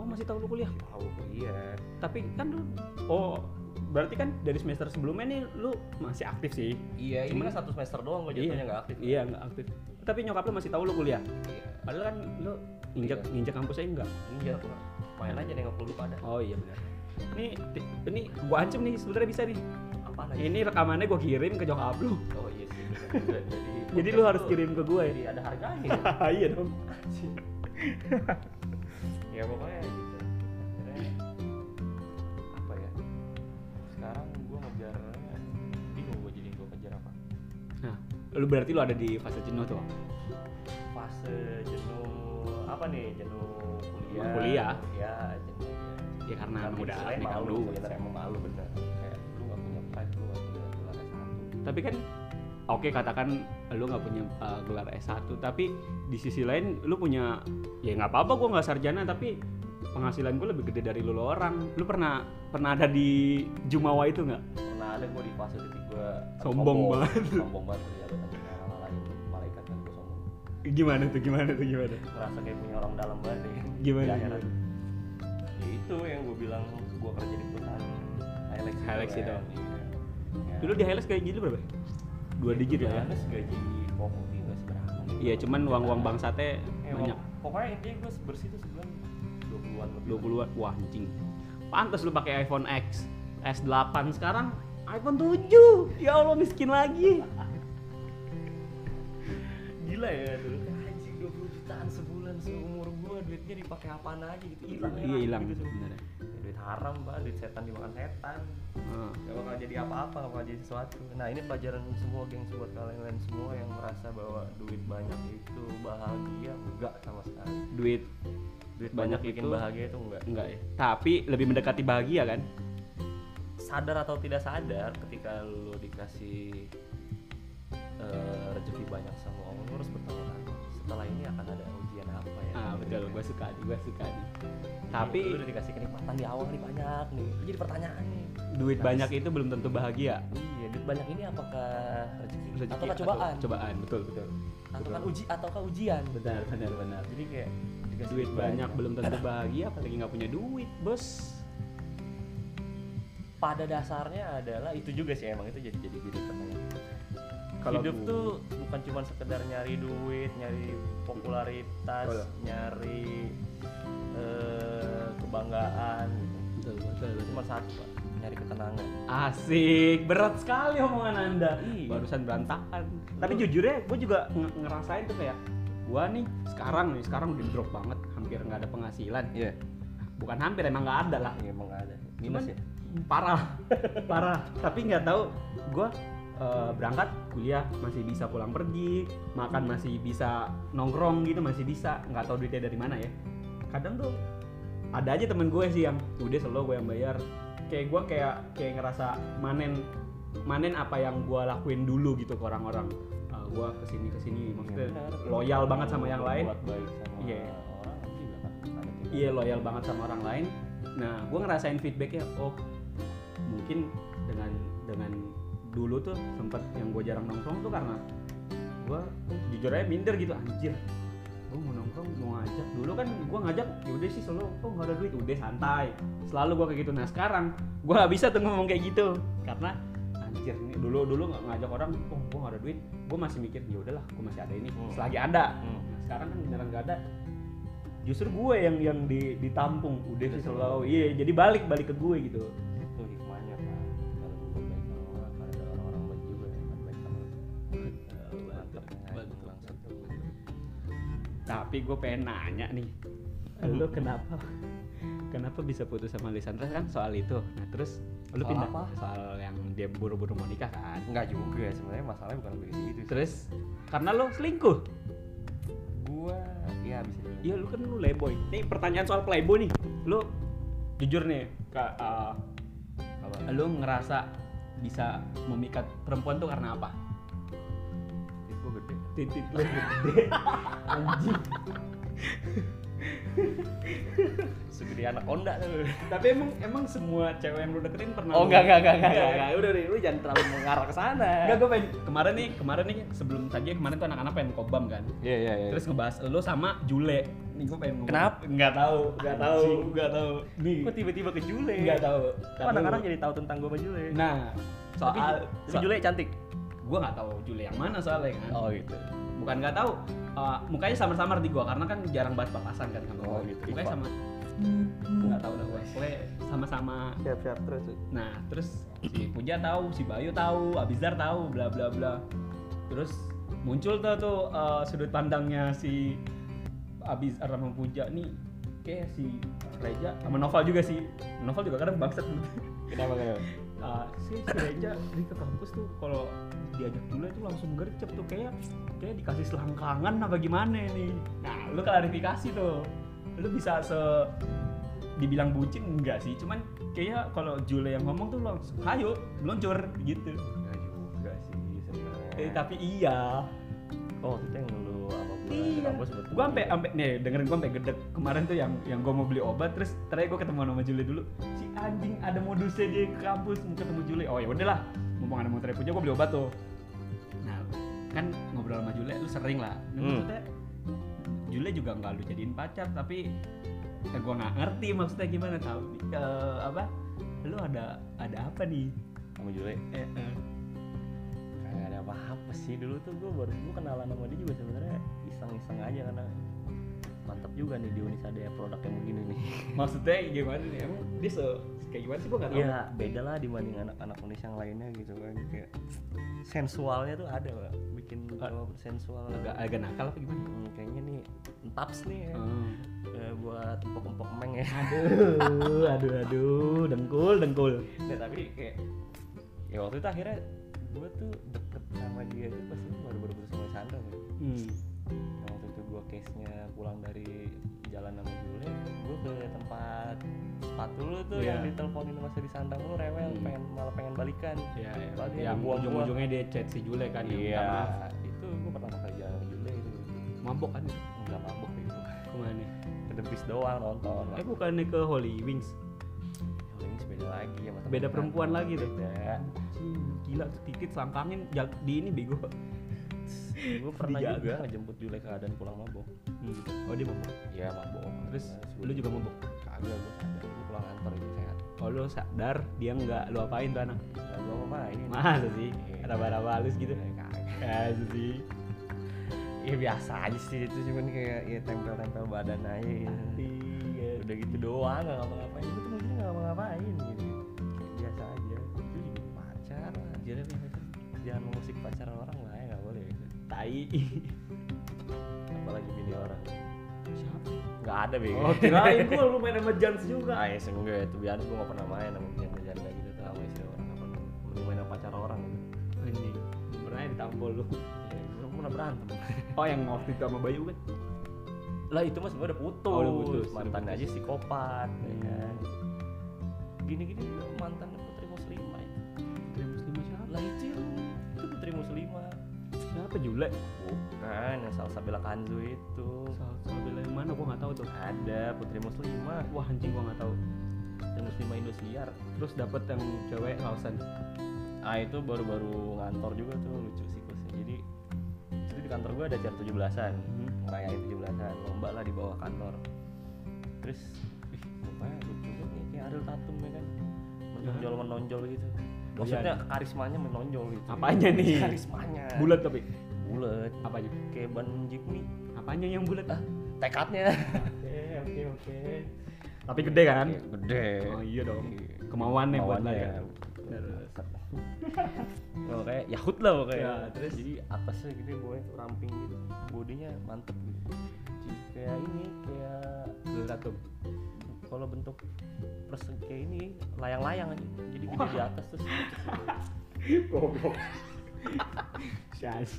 A: oh masih tahun lu kuliah
B: tahu iya
A: tapi kan lu oh berarti kan dari semester sebelumnya nih lu masih aktif sih
B: iya ini
A: Cuman-
B: kan satu semester doang
A: Iya.
B: gue jatuhnya nggak aktif
A: iya nggak aktif tapi nyokap lu masih tahu lu kuliah
B: iya
A: padahal kan lu injak
B: Iya.
A: injak kampusnya enggak
B: iya gue main aja nengok lu pada
A: oh iya benar ini ini gua ancam nih sebenarnya bisa nih
B: apa lagi
A: ini rekamannya gua kirim ke nyokap lu
B: oh iya sih bener. jadi
A: jadi lu harus kirim ke gua ya
B: jadi ada harganya
A: iya dong
B: ya pokoknya gitu akhirnya apa ya sekarang gue ngejar bingung gue jadi gue ngejar apa
A: nah lu berarti lu ada di fase jenuh tuh
B: fase jenuh apa nih jenuh kuliah
A: Kuliah.
B: ya jenuh
A: ya karena
B: Tapi
A: emang udah
B: sebenarnya
A: nikah
B: malu
A: lu ya.
B: sebenarnya emang malu bener kayak lu gak punya pride lu gak punya gelar satu
A: tapi kan oke katakan lu nggak punya uh, gelar S1 tapi di sisi lain lu punya ya nggak apa-apa gua nggak sarjana tapi penghasilan gue lebih gede dari lu lu orang lu pernah pernah ada di Jumawa itu nggak
B: pernah ada gue di fase titik gue
A: Sombong banget.
B: sombong banget ya lu tadi malah lain malaikat kan gue sombong
A: gimana tuh gimana tuh gimana
B: ngerasa kayak punya orang dalam banget ya.
A: Gimana,
B: Di akhirat.
A: gimana?
B: ya itu yang gue bilang gue kerja di perusahaan Hilux
A: Hilux itu.
B: kan, iya. Ya,
A: dulu di Highlights kayak gini berapa ya? dua
B: itu
A: digit
B: di
A: lah ya
B: Hilux gaji pokoknya nggak seberapa
A: iya cuman uang-uang bangsatnya
B: Eh,
A: banyak
B: wak- pokoknya intinya gue bersih tuh sebulan 20-an lebih
A: 20-an wah anjing pantas lu pakai iPhone X S8 sekarang iPhone 7 ya Allah miskin lagi
B: gila ya dulu anjing 20 jutaan sebulan seumur gue duitnya dipakai apaan aja gitu hilang
A: iya
B: ya,
A: hilang
B: gitu.
A: bener ya.
B: Ya, duit haram pak duit setan dimakan setan
A: Heeh.
B: gak bakal jadi apa-apa gak bakal jadi sesuatu nah ini pelajaran semua gengs buat kalian semua yang merasa bahwa duit banyak itu bahagia enggak sama sekali
A: duit
B: duit
A: Banyak
B: banyak, bikin
A: itu-
B: bahagia itu enggak
A: enggak ya tapi lebih mendekati bahagia kan
B: sadar atau tidak sadar ketika lo dikasih eh, rezeki banyak sama Allah lo harus bertanggung jawab. setelah ini akan ada ujian apa ya Iya,
A: ah betul gue suka nih gue suka nih
B: Jadi,
A: tapi
B: lo udah dikasih kenikmatan di awal nih banyak nih Itu jadi pertanyaan nih
A: duit banyak itu belum tentu bahagia
B: iya duit banyak ini apakah rezeki,
A: Rezeki
B: ataukah cobaan
A: atau cobaan betul betul
B: ataukah uji ataukah ujian
A: benar benar benar
B: jadi kayak dikasih
A: duit banyak belum tentu bahagia apalagi nggak punya duit bos
B: pada dasarnya adalah itu juga sih emang itu jadi jadi jadi pertanyaan
A: Kalau
B: hidup
A: gua-
B: tuh bukan cuma sekedar nyari duit nyari popularitas
A: Betul.
B: nyari eh, kebanggaan gitu
A: betul betul, betul.
B: cuma satu Pak, nyari ketenangan
A: Asik, berat sekali omongan anda.
B: Iya.
A: Barusan berantakan. Tapi
B: Lu-
A: jujur ya, gue juga nge- ngerasain tuh kayak, gue nih sekarang nih sekarang udah drop banget, hampir nggak ada penghasilan.
B: iya
A: Bukan hampir emang nggak ada lah.
B: emang ada ya?
A: Cuman parah, parah. Tapi nggak tahu, gue berangkat kuliah masih bisa pulang pergi, makan masih bisa nongkrong gitu masih bisa. Nggak tahu duitnya dari mana ya. Kadang tuh ada aja temen gue sih yang udah selalu gue yang bayar. Kayak gue kayak kayak ngerasa manen manen apa yang gue lakuin dulu gitu ke orang-orang. Eh, gue kesini kesini maksudnya loyal banget sama yang lain.
B: Iya. buat baik sama
A: Iya.
B: orang nanti bakal ada timbal.
A: iya loyal banget sama orang lain nah gue ngerasain feedbacknya oh mungkin dengan dengan dulu tuh sempet yang gue jarang nongkrong tuh karena gue jujur aja minder gitu anjir gue mau nongkrong mau ngajak dulu kan gue ngajak yaudah sih selalu oh nggak ada duit udah santai selalu gue kayak gitu nah sekarang gue nggak bisa tuh ngomong kayak gitu karena anjir nih dulu dulu nggak ngajak orang oh gue nggak ada duit gue masih mikir ya udahlah gue masih ada ini
B: Hmm.
A: selagi ada
B: Hmm.
A: Nah, sekarang kan beneran nggak ada justru gue yang yang di- ditampung udah sih selalu iya jadi balik balik ke gue gitu
B: itu hikmahnya pak kalau berbuat baik sama orang kan ada orang-orang baik juga yang akan baik sama eh, lu. Mantap,
A: betul.
B: langsung.
A: tapi gue pengen nanya nih lo kenapa kenapa bisa putus sama Lisandra kan soal itu nah terus lu
B: Soal
A: pindah
B: apa?
A: soal yang dia buru-buru mau nikah kan
B: Enggak juga ya, sebenarnya masalahnya bukan begitu gitu sih.
A: terus karena lo selingkuh
B: gua ya bisa dibilang
A: Iya lu kan lu playboy. Nih pertanyaan soal playboy nih. Lu jujur nih, Kak, eh,
B: apa
A: lu ngerasa bisa memikat perempuan tuh karena apa?
B: titik gua gede
A: Titik lu gede. Anjing.
B: segede anak onda tuh
A: Tapi emang emang semua cewek yang lu deketin pernah
B: oh
A: lu- Iya,
B: enggak enggak enggak enggak
A: Enggak,
B: enggak udah deh lu jangan terlalu mengarah ke sana
A: Enggak, gue pengen kemarin nih, kemarin nih sebelum tadi ya, kemarin tuh anak-anak pengen kobam kan.
B: iya iya iya
A: Terus ngebahas lu sama Jule. Nih gue pengen ngomong.
B: Kenapa?
A: Enggak tahu, enggak tahu,
B: Anjing.
A: enggak tahu. Nih,
B: kok tiba-tiba ke Jule
A: enggak tahu.
B: kok anak-anak jadi tahu tentang gua sama Jule
A: Nah, soal
B: tapi Jule cantik
A: gue nggak tahu Juli yang mana soalnya kan
B: oh gitu
A: bukan nggak tahu eh, mukanya samar-samar di gue karena kan jarang banget papasan kan sama
B: Oh,
A: gua.
B: gitu.
A: mukanya sama
B: Iya.
A: nggak tahu dah gue pokoknya sama-sama
B: siap-siap terus
A: nah terus si Puja tahu si Bayu tahu Abizar tahu bla bla bla terus muncul tuh tuh eh, sudut pandangnya si Abizar sama Puja nih kayak si Reja sama Novel juga sih Novel juga kadang bangsat
B: kenapa kenapa
A: Ah, si si Reja di ke kampus tuh kalau diajak dulu itu langsung gercep tuh kayak kayak dikasih selangkangan apa gimana nih nah lu klarifikasi tuh lu bisa se dibilang bucin enggak sih cuman kayak kalau Jule yang ngomong tuh langsung ayo meluncur gitu
B: enggak juga sih
A: eh,
B: sebenarnya
A: tapi iya
B: oh waktu itu yang lu apa gua di
A: Iya.
B: kampus buat
A: Gua sampai sampai nih dengerin gua sampai gedek. Kemarin tuh yang yang gua mau beli obat terus terakhir gua ketemu sama Juli dulu. Si anjing ada modusnya dia ke kampus mau ketemu Juli. Oh ya udahlah. Mumpung ada motor punya gua beli obat tuh. Nah, kan ngobrol sama Juli lu sering lah. Nah,
B: Hmm.
A: maksudnya Juli juga nggak lu jadiin pacar tapi ya gua nggak ngerti maksudnya gimana tahu Eh, apa? Lu ada ada apa nih?
B: sama Jule
A: Eh, eh.
B: Kagak ada apa-apa sih dulu tuh gue baru gue kenalan sama dia juga sebenarnya iseng-iseng aja karena mantap juga nih di Unis ada produk yang begini nih.
A: Maksudnya gimana nih? Emang dia se kayak gimana sih gua nggak tahu.
B: Iya beda lah dibanding anak-anak Unis yang lainnya gitu kan kayak sensualnya tuh ada pak bikin cowok sensual
A: Agak agak nakal apa gimana?
B: Hmm, kayaknya nih entaps nih ya.
A: Hmm.
B: Eh, buat empok-empok meng ya.
A: aduh aduh aduh dengkul dengkul
B: Nah, tapi kayak ya waktu itu akhirnya gue tuh deket sama dia tuh pas itu baru baru sama Sandra kan.
A: hmm.
B: Yang Nah, waktu itu gue case nya pulang dari jalan sama Jule gue ke tempat sepatu lu tuh
A: Iya.
B: yang diteleponin sama si sandang lu rewel
A: Hmm.
B: pengen malah pengen balikan
A: ya,
B: Tadi
A: yang
B: gua-
A: ujung ujungnya dia chat si Jule kan yang minta maaf.
B: Iya. itu gue pertama kali jalan sama Jule itu
A: mabok kan itu
B: nggak mabuk itu
A: kemana
B: kedepis doang nonton
A: eh bukannya ke Holy Wings
B: Jule ini beda lagi sama
A: Beda perempuan lagi tuh.
B: beda
A: gila tuh titit selangkangin jag- di ini bego
B: gue pernah
A: Dijaga.
B: juga ngejemput Jule keadaan pulang mabuk
A: hmm. oh dia mabok
B: iya mabuk
A: terus lu juga mabok
B: kagak gue sadar gue pulang kantor itu sehat
A: oh lu sadar dia nggak lu apain tuh anak
B: Nah, gue mau main
A: masa sih
B: Iya.
A: raba-raba halus gitu
B: Ya, kagak
A: masa sih
B: ya biasa aja sih itu cuman kayak ya tempel-tempel badan aja gitu.
A: iya
B: udah gitu doang nggak ngapa-ngapain itu mungkin nggak ngapa-ngapain gitu kayak biasa aja itu juga pacar lah
A: Iya,
B: jangan jangan mengusik pacar orang lah ya nggak boleh gitu.
A: tai
B: apalagi bini orang
A: siapa
B: nggak ada bego
A: oh kirain gua lu main sama Jans juga
B: ah ya semoga itu biar gue nggak pernah main sama janda-janda gitu tuh sama istri orang nggak pernah mending main sama pacar orang gitu
A: anjing pernah ditampol lu
B: ya
A: Iya,
B: gue pernah berantem
A: Oh yang waktu itu sama Bayu kan?
B: lah itu mas udah putus,
A: Oh, udah putus,
B: mantan
A: udah
B: aja psikopat ya
A: Hmm.
B: kan gini-gini juga mantan putri muslimah itu.
A: Putri Muslimah siapa?
B: lah itu yang- itu putri muslimah
A: Siapa Jule?
B: bukan yang salsa bela kanzu itu
A: Salsa bela yang mana? Gua nggak tahu tuh.
B: ada putri muslimah
A: Wah anjing gua nggak tahu.
B: putri muslimah indosiar
A: Terus dapet yang cewek Lausan.
B: ah itu baru-baru ngantor juga tuh lucu siklusnya jadi itu di kantor gue ada acara 17-an
A: Hmm.
B: ngerayain 17-an lomba lah di bawah kantor terus
A: Iya.
B: ya, ih, lumayan lucu banget nih kayak Ariel Tatum ya kan menonjol menonjol gitu maksudnya karismanya menonjol gitu
A: Apanya nih?
B: karismanya
A: bulat tapi
B: bulat
A: apanya
B: kayak ban jeep nih
A: apanya yang bulat
B: Eh.
A: ah
B: tekadnya
A: oke oke oke tapi gede kan
B: gede
A: oh iya dong kemauannya buat
B: Kemauannya.
A: lari Terus.
B: Oh, kayak Yahut lah pokoknya.
A: Ya, terus?
B: jadi atasnya gitu gue ramping gitu, bodinya mantep gitu. Jadi kayak ini kayak
A: Zulatum.
B: kalau bentuk persegi kayak ini layang-layang aja. Jadi gede di atas terus.
A: Goblok. Syas.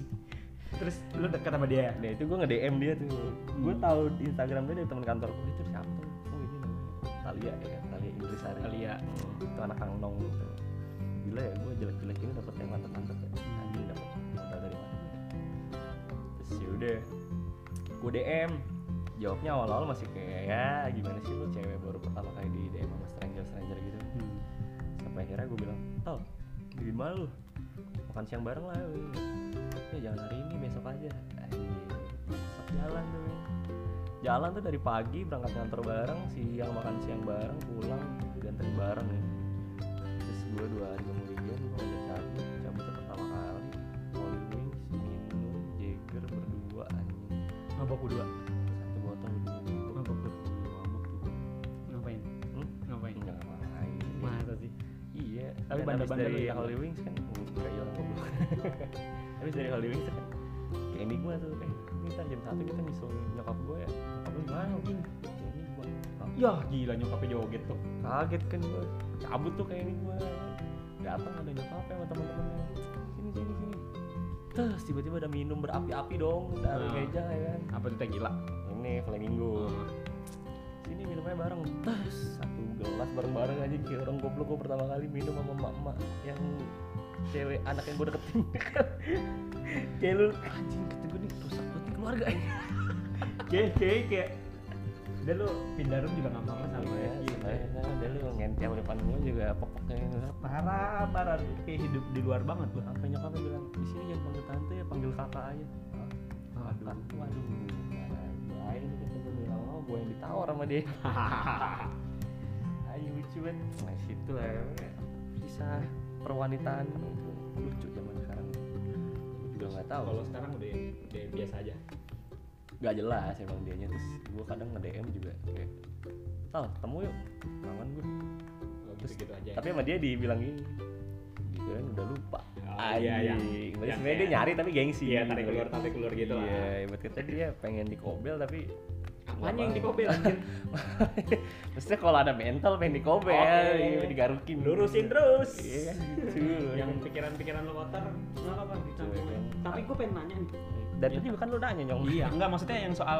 A: Terus lu dekat sama dia?
B: Nah itu gue nge DM dia tuh. Gue tahu di Instagram dia dari teman kantor gue itu siapa? tuh? Oh ini namanya Talia ya kan? Talia Indrisari.
A: Talia.
B: Itu anak Kang Nong gitu. Gila ya gue jelek-jelek ini dapet yang mantep-mantep ya. Anjing dapet modal dari mana? Terus ya yaudah gue DM jawabnya awal-awal masih kayak ya gimana sih lu cewek baru pertama kali di DM sama stranger stranger gitu
A: Hmm.
B: sampai akhirnya gue bilang oh di mana lu makan siang bareng lah weh." ya jangan hari ini besok aja Anjing, besok jalan tuh weh. jalan tuh dari pagi berangkat kantor bareng siang makan siang bareng pulang ganteng bareng ya terus gue dua hari kemudian gue ngajak cabut cabutnya pertama kali Holy Wings minum Jager berdua anjing
A: Mabok berdua.
B: satu botol dulu
A: Mabok berdua. Ngapain?
B: Hmm?
A: Ngapain?
B: Enggak ngapain.
A: Masa sih?
B: Iya,
A: Tapi ya,
B: dan
A: bandar-bandar
B: abis dari
A: lu yang-
B: Holy Wings kan uh, enggak iya orang goblok. Habis dari Holy Wings kan kayak ini gua tuh, eh ini ntar jam 1 kita nyusul nyokap gua ya. Apa gimana anjing? Ya ini gua "Ah,
A: Yah Ya, gila nyokapnya joget tuh.
B: kaget kan gua. Cabut tuh kayak ini gua. Datang ada nyokapnya sama teman-temannya. Sini sini sini. Terus tiba-tiba ada minum berapi-api dong dari
A: Nah.
B: meja ya kan.
A: Apa tuh teh gila?
B: Ini flamingo. sini minumnya bareng terus satu gelas bareng-bareng aja kayak orang goblok gue pertama kali minum sama emak-emak yang cewek anak yang gue deketin kayak lu anjing kata gue nih rusak banget nih keluarga ini
A: Oke, oke, oke. Udah lu pindah room juga gampang lah sama
B: ya
A: ya.
B: sebenarnya ada lu ngentel depan gue juga pokoknya
A: Parah, parah. Lu Kayak hidup di luar banget lu.
B: sampai nyokapnya bilang di sini jangan panggil tante ya panggil kakak aja
A: Aduh.
B: Kakak, waduh lain kata gue bilang oh gue yang ditawar sama dia Ayo lucu banget. Nah situ lah ya. Kisah perwanitaan itu lucu zaman sekarang. Gue juga nggak tahu.
A: Kalau sekarang udah, udah biasa aja.
B: Nggak jelas emang dianya terus gue kadang nge DM juga kayak Tal, temu yuk, kangen gue.
A: Kalau Gitu-gitu aja.
B: Tapi sama dia dibilang gini, gitu kan udah lupa.
A: Oh, iya, iya.
B: Anjing. Berarti
A: Yang
B: sebenarnya dia
A: kayak-
B: nyari tapi gengsi.
A: Iya, tarik keluar, tarik keluar gitu lah.
B: Iya, ibarat kata dia pengen dikobel tapi
A: Apanya yang dikobel anjir?
B: Maksudnya kalau ada mental pengen dikobel,
A: Oke.
B: iya, digarukin.
A: Lurusin terus.
B: Iya kan gitu.
A: yang pikiran-pikiran lo kotor nggak apa-apa dicampur
B: Iya.
A: tapi gue pengen nanya nih
B: Dan tadi bukan lu nanya nyong.
A: iya enggak maksudnya yang soal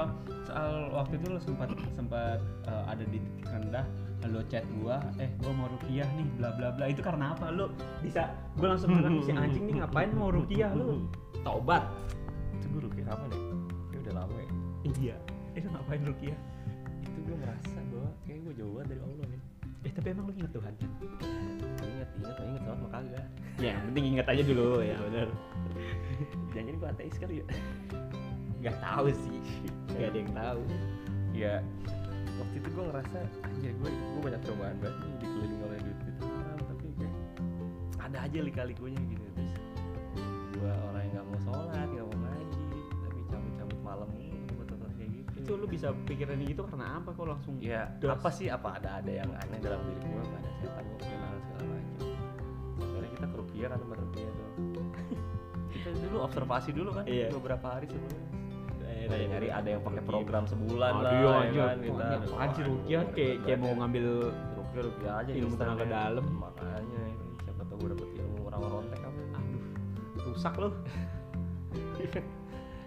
A: soal waktu itu lo sempat sempat eh, ada di titik rendah lo chat gua eh gua mau rukiah nih bla bla bla itu karena apa lo bisa gua langsung ngerti si anjing nih ngapain mau rukiah lo taubat
B: Itu gue rugi apa deh? Ya udah lama ya.
A: iya eh lo ngapain rukiah
B: Itu gue merasa bahwa kayak gue jauh banget dari Allah nih.
A: eh tapi emang lo inget Tuhan kan
B: Ingat, ingat, ingat sholat mah kagak.
A: ya yang penting inget aja dulu ya benar
B: Jangan gue ateis kali ya.
A: nggak tahu sih nggak ada yang tahu
B: Iya. Waktu itu gue ngerasa anjir gue gue banyak cobaan banget nih dikelilingi oleh duit duit haram tapi kayak ada aja lika-likunya gitu terus gue orang yang nggak mau sholat nggak mau ngaji tapi cabut-cabut malam tempat-tempat kayak gitu
A: itu lo bisa pikiran gitu karena apa kok langsung
B: ya
A: Das.
B: apa sih apa ada ada yang aneh dalam diri gue apa ada setan gue kenal segala macam sebenarnya kita kerupiah kan tempat rupiah tuh kita dulu observasi dulu kan
A: Iya.
B: beberapa hari sebelum
A: Eh,
B: nyari Iya, nyari ada yang pakai program sebulan lah
A: Aduh,
B: ya
A: anjir,
B: kan, kita.
A: anjir rukiah kayak kayak mau ngambil
B: rupiah rupiah aja
A: ilmu
B: instan
A: tenaga
B: ya.
A: dalam.
B: makanya ya. siapa tahu gue dapet ilmu rawa rontek apa
A: aduh rusak loh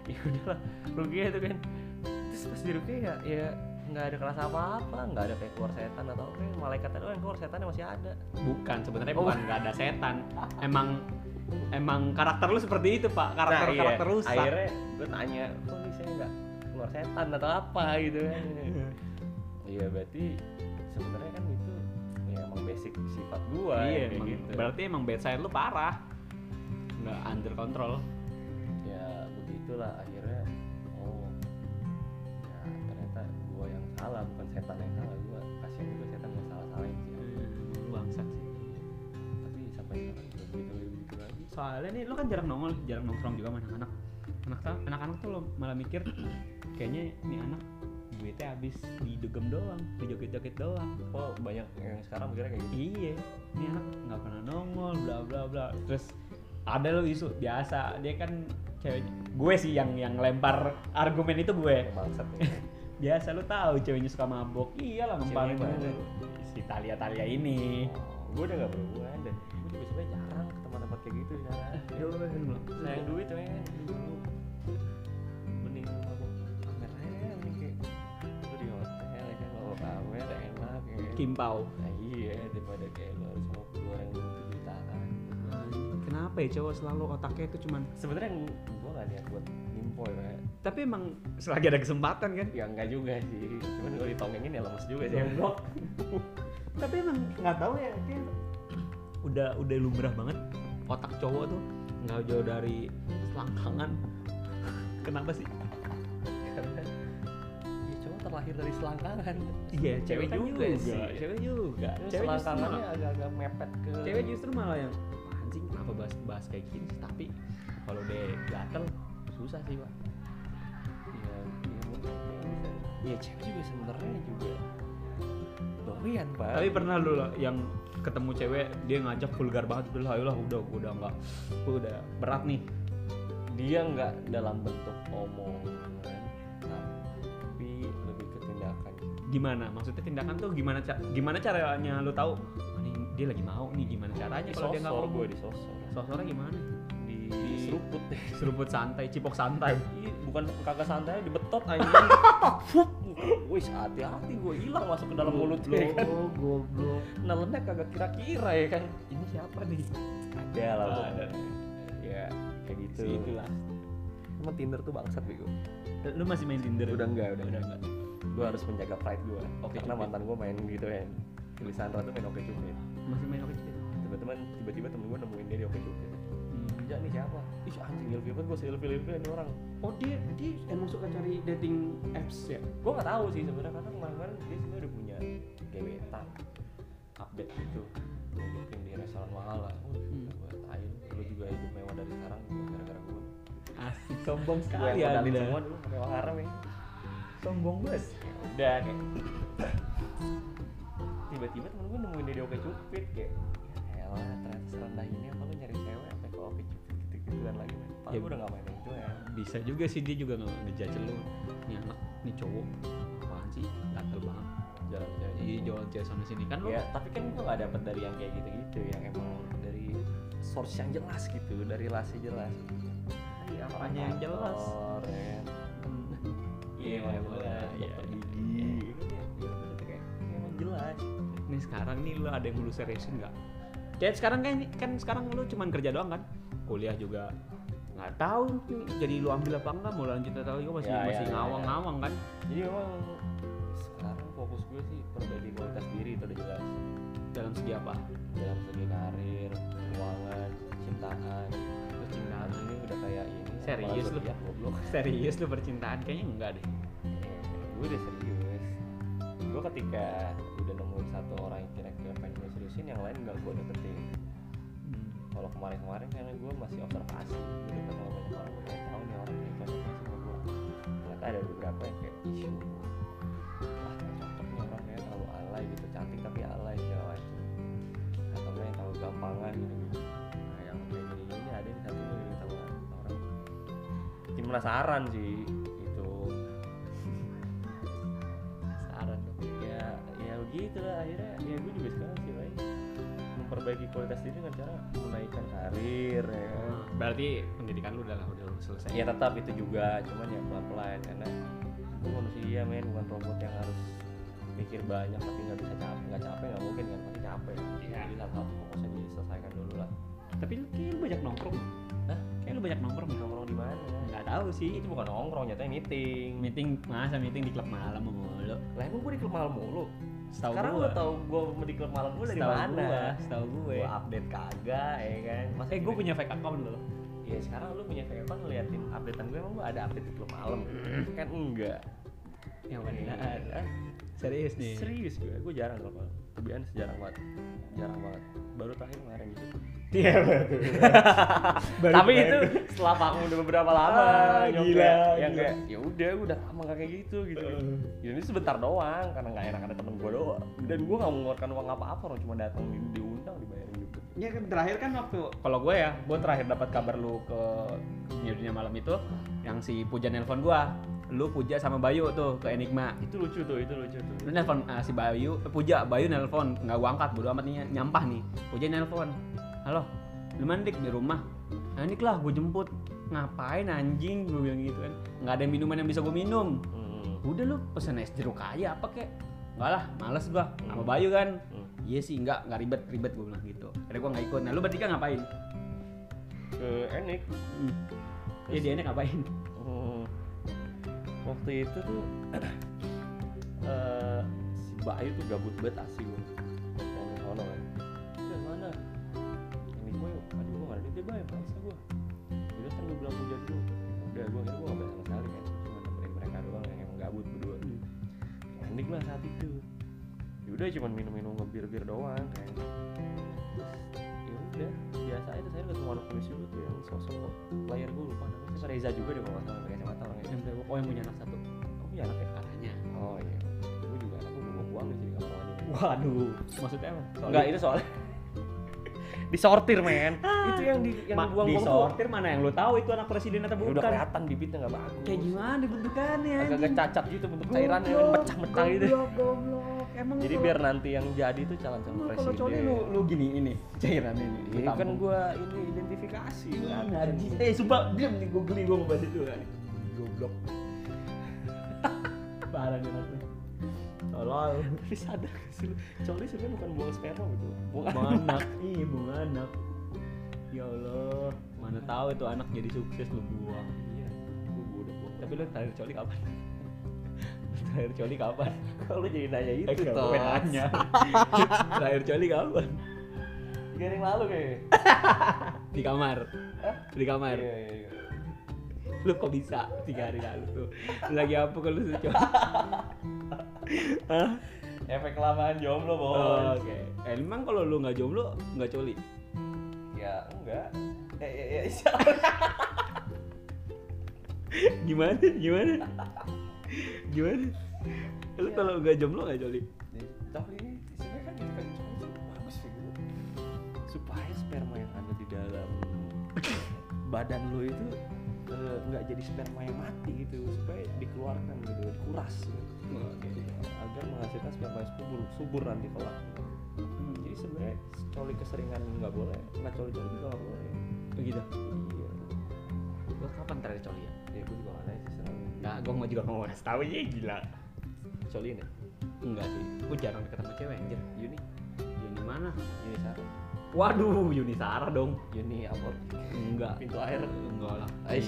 B: ya udahlah rupiah itu kan terus pas di rupiah ya ya nggak ada kerasa apa-apa nggak ada kayak keluar setan atau apa malaikatnya doang yang keluar setannya masih ada
A: Nah, bukan sebenarnya
B: Oh.
A: bukan nggak ada setan emang emang karakter lu seperti itu pak karakter
B: iya.
A: karakter rusak
B: akhirnya gue tanya kok bisa nggak keluar setan atau apa gitu kan iya berarti sebenarnya kan itu ya emang basic sifat gua
A: iya
B: kayak
A: emang
B: gitu
A: berarti emang bad side lu parah nggak under control
B: ya begitulah akhirnya oh ya ternyata gua yang salah bukan setan yang salah gua kasihan juga setan gua salah salahin sih
A: Nah, bangsat sih
B: tapi sampai sekarang
A: soalnya nih lo kan jarang nongol jarang nongkrong juga sama anak-anak anak ta- anak-anak tuh lo malah mikir kayaknya ini anak duitnya habis di dugem doang di joget-joget doang
B: oh banyak yang sekarang mikirnya kayak gitu
A: iya ini anak nggak pernah nongol bla bla bla terus ada lo isu biasa dia kan ceweknya gue sih yang yang lempar argumen itu gue
B: bangsat ya
A: biasa lu tahu ceweknya suka mabok iyalah ngemparin
B: Ceweknya
A: dulu. si Talia Talia ini
B: gue udah gak berhubungan dan gue juga sebenarnya jarang ke tempat-tempat kayak gitu sekarang sayang duit men dulu mending mabok kamera aja mending kayak lu di hotel kan mabok kamera enak ya
A: Kimpau
B: nah, iya daripada kayak lu harus mabok di luar yang belum tujuh tangan
A: kenapa ya cowok selalu otaknya itu cuman
B: sebenarnya gue gak niat buat nimpoy ya
A: tapi emang selagi ada kesempatan kan
B: ya enggak juga sih cuman gue ditongengin ya lemes juga sih
A: Goblok. tapi emang nggak tahu ya kayak udah udah lumrah banget otak cowok tuh nggak jauh dari selangkangan kenapa sih
B: karena ya cuma terlahir dari selangkangan
A: iya cewek,
B: kan
A: juga,
B: sih
A: cewek juga
B: Cuma
A: cewek justru
B: selangkangannya
A: malah-
B: agak-agak mepet ke
A: cewek justru malah yang "Apaan sih apa bahas bahas kayak gini sih?" tapi kalau udah gatel susah sih pak
B: ya, ya mungkin ya bisa. ya cewek juga sebenarnya juga doyan pak
A: tapi pernah lu lah yang ketemu cewek dia ngajak vulgar banget udah lah ayolah, udah gua udah nggak gua udah berat nih
B: dia nggak dalam bentuk omongan tapi lebih ke tindakan
A: gimana maksudnya tindakan tuh gimana ca- gimana caranya lu tahu "Oh, ini dia lagi mau nih gimana caranya kalau dia nggak
B: disosor
A: mau
B: gue disosor
A: sosornya gimana
B: di, seruput deh
A: seruput santai cipok santai
B: Ih, Iya, bukan kagak santai dibetot anjing Fup. wis hati-hati gue hilang masuk ke dalam mulut lu
A: lo Iya kan? goblok
B: nelennya kagak kira-kira ya kan
A: ini siapa nih
B: ada
A: Ah,
B: lah
A: ada.
B: pokoknya. ya kayak gitu
A: Si itulah
B: Emang Tinder tuh bangsat bego
A: lu masih main tinder
B: Udah enggak, udah
A: udah enggak
B: gue harus menjaga pride gue
A: Oke,
B: karena
A: Cupid.
B: mantan gue main gitu ya tulis Sandra tuh main oke cupid
A: masih main oke Cupid?
B: teman-teman tiba-tiba temen gue nemuin dia di oke cupid
A: Hmm.
B: kerja nih siapa ih anjing ilfil banget gue selfie ilfil ini orang
A: oh dia dia emang suka cari dating apps ya
B: gue nggak tahu sih sebenarnya karena kemarin-kemarin dia sebenarnya udah punya gebetan update gitu mungkin di restoran mahal lah
A: Hmm.
B: gue tain lu juga hidup mewah dari sekarang gitu, gara-gara gue
A: asik sombong
B: gue
A: sekali
B: yang
A: ya
B: modalin semua dulu mewah haram ya
A: sombong banget
B: udah kayak tiba-tiba temen gue nemuin dia di oke cupid kayak ya elah ternyata serendah ini apa lu nyari cewek sampai ke oke cupid gitu gituan lagi Pak,
A: Ya,
B: gue udah gak main yang itu ya
A: bisa juga sih dia juga nggak ngejudge lu nih anak nih cowok apaan sih gatel banget
B: jalan
A: iya jualan cewek sana sini kan lu
B: ya tapi kan gue gak dapet dari yang kayak gitu-gitu yang emang dari source yang jelas gitu dari relasi jelas iya
A: apanya yang jelas? Hmm.
B: iya emang jelas
A: Iya.
B: dokter gigi Iya, iya, maksudnya kayak emang jelas
A: nih sekarang nih lu ada yang lu seriusin nggak kayak sekarang kan kan sekarang lu cuman kerja doang kan kuliah juga nggak tahu nih, jadi lu ambil apa enggak mau lanjut atau enggak masih
B: Ya, ya,
A: masih
B: ya, ya.
A: ngawang-ngawang kan
B: jadi memang sekarang fokus gue sih perbaiki kualitas diri itu udah jelas
A: dalam segi apa
B: dalam segi karir keuangan cintaan terus cintaan ini udah kayak ini
A: Serius lu?
B: ya goblok
A: serius lu percintaan kayaknya enggak deh
B: Eh, gue udah serius gue ketika udah nemuin satu orang yang kira-kira pengen gue seriusin yang lain nggak gue deketin
A: Hmm.
B: kalau kemarin-kemarin karena gue masih observasi gue deket sama banyak orang gue kayak tahu nih orang ini cocoknya sama gue ternyata ada beberapa yang kayak isu ah nggak cocok nih orang kayak terlalu alay gitu cantik tapi alay segala macam atau enggak yang terlalu gampangan gitu nah yang kayak gini gini ada yang satu gue gini sama orang bikin penasaran sih gitu
A: saran
B: ya ya begitu lah akhirnya ya gue juga sekarang sih lain memperbaiki kualitas diri dengan cara menaikkan karir ya kan.
A: Hmm. berarti pendidikan lu udah lah udah lu selesai
B: ya tetap itu juga cuman ya pelan pelan karena gue manusia men bukan robot yang harus pikir banyak tapi nggak bisa capek nggak capek nggak mungkin kan pasti capek
A: Iya.
B: jadi satu satu fokusnya diselesaikan dulu lah
A: tapi lu kayak lu banyak nongkrong
B: Hah?
A: kayak lu banyak nongkrong ya?
B: nongkrong di mana
A: nggak tahu sih
B: itu bukan nongkrong nyatanya meeting
A: meeting masa meeting di klub malam mulu
B: lah emang gue di klub malam mulu
A: setahu
B: sekarang
A: gua
B: lo tau gue di klub malam gue dari
A: Setahu
B: mana
A: gua, setahu gue
B: Gua update kagak ya kan Masa
A: eh gue
B: gini-
A: punya fake account loh
B: ya sekarang lu punya kayak apa ngeliatin updatean gue emang gue ada update di klub malam kan enggak
A: yang
B: Ah,
A: serius
B: Iya.
A: nih
B: serius gue gue jarang klub malam kebiasaan jarang banget jarang banget baru terakhir kemarin gitu
C: Iya betul. Baru
B: Tapi
C: kebayang
B: itu
C: tuh.
B: setelah vakum udah beberapa lama
C: Ah,
B: nyokap
C: gila,
B: yang
C: gila.
B: kayak ya udah gua udah lama gak kayak gitu gitu.
C: Heeh.
B: Ya, ini sebentar doang karena nggak enak ada temen gua doang. Dan gua nggak mengeluarkan uang apa-apa orang cuma datang di- diundang dibayarin gitu.
A: Ya kan terakhir kan waktu kalau gue ya, gue terakhir dapat kabar lu ke dunia dunia malam itu yang si Puja nelpon gue, lu Puja sama Bayu tuh ke Enigma.
B: Itu lucu tuh, itu lucu tuh.
A: Lu nelpon eh, si Bayu, eh, Puja, Bayu nelpon, nggak gua angkat, bodo amat nih, nyampah nih. Puja nelpon, halo, lu mandik di rumah? Nah, ini lah gue jemput, ngapain anjing gue bilang gitu kan, nggak ada minuman yang bisa gue minum.
B: Hmm.
A: Udah lu pesen es jeruk aja apa kek? Enggak lah, males gua sama Bayu kan.
B: Hmm.
A: Iya sih, enggak, enggak ribet, ribet gue bilang gitu. Akhirnya gue nggak ikut. Nah, lu bertiga ngapain?
B: Ke Enik.
A: Hmm. Ya dia ngapain?
B: Hmm. Waktu itu tuh eh, si Bayu tuh gabut banget asli gua. Yang di sono kan. Udah mana? Ini gue, aduh gue gak ada duit deh Bayu, maksa gue Jadi kan gue bilang puja dulu Udah gue akhirnya gue gak bayar sama sekali kan Cuma nemenin mereka doang yang emang gabut berdua
A: Hmm.
B: Enik lah saat itu Yaudah cuman minum-minum ngebir-bir doang kan ya udah biasa aja saya ketemu anak polisi dulu tuh yang sosok player gue lupa namanya siapa Reza juga deh kalau nggak salah pakai kacamata orangnya
A: Yang berapa? Oh yang punya anak satu.
B: oh punya anak ya
A: Katanya.
B: oh iya gue juga anak gue buang buang sih kalau mandi
A: Waduh. Maksudnya apa?
B: enggak itu soalnya disortir men itu yang di yang
A: Ah. Ma-
B: dibuang
A: di
B: buang tuh
A: sortir mana yang lu tahu itu anak presiden atau
B: Ya udah
A: bukan?
B: kelihatan bibitnya nggak bagus
A: Kayak gimana bentukannya?
B: agak cacat gitu bentuk cairannya
A: ya,
B: mecah-mecah gitu
A: Goblok, goblok. Emang
B: jadi biar nanti yang jadi tuh calon-calon
A: Emang kalau coli
B: presiden
A: lu lu gini ini cairan ini. lu
B: Iya kan
A: tampung.
B: gue ini identifikasi
A: Iya,
B: kan.
A: najis. Eh, sumpah diam nih gue geli gue ngebahas itu kan. Goblok. Parah nih anak lu. Tolol.
B: Tapi sadar gak sih lu? Coli sebenarnya bukan buang sperma gitu. Buang
A: Bunga anak. Ih, bunga anak. Ya Allah, mana tahu itu anak jadi sukses lu buang.
B: Iya, gue udah buang.
A: Tapi lu terakhir coli kapan? Lu terakhir coli kapan?
B: Kalau lu jadi nanya itu
A: Enggak,
B: toh.
A: gue Eh, nanya. terakhir coli kapan?
B: Tiga hari yang lalu kayaknya.
A: Di kamar.
B: Hah?
A: Di kamar.
B: Iya, iya, iya.
A: Lu kok bisa tiga hari lalu tuh? Lu Lagi apa kalau lu coli?
B: Efek kelamaan jomblo, bos.
A: Oh, Oke. Eh, emang kalau lu nggak jomblo nggak coli?
B: Ya, enggak. Eh, ya, ya, ya.
A: gimana? Gimana? Gimana? Lu kalau nggak jomblo nggak coli?
B: Coli ini sebenarnya kan gitu kan coli itu bagus sih gitu. Supaya sperma yang ada di dalam badan lu itu eh, nggak jadi sperma yang mati gitu supaya dikeluarkan gitu dikuras gitu.
A: Oke.
B: agar menghasilkan sperma yang subur subur nanti kelak
A: Hmm,
B: jadi sebenarnya coli keseringan nggak boleh nggak coli coli juga nggak boleh
A: Begitu.
B: iya
A: Gua kapan terakhir coli ya?
B: ya gue juga nggak nanya sih sekarang
A: Nah, gua mau juga mau ngasih tahu ya gila.
B: coli ini
A: Enggak sih. Gua jarang ketemu cewek anjir.
B: Yuni
A: Yuni mana?
B: Yuni Sarah
A: Waduh, Yuni Sarah dong.
B: Yuni abot
A: Enggak.
B: pintu air
A: Enggak lah.
B: Aish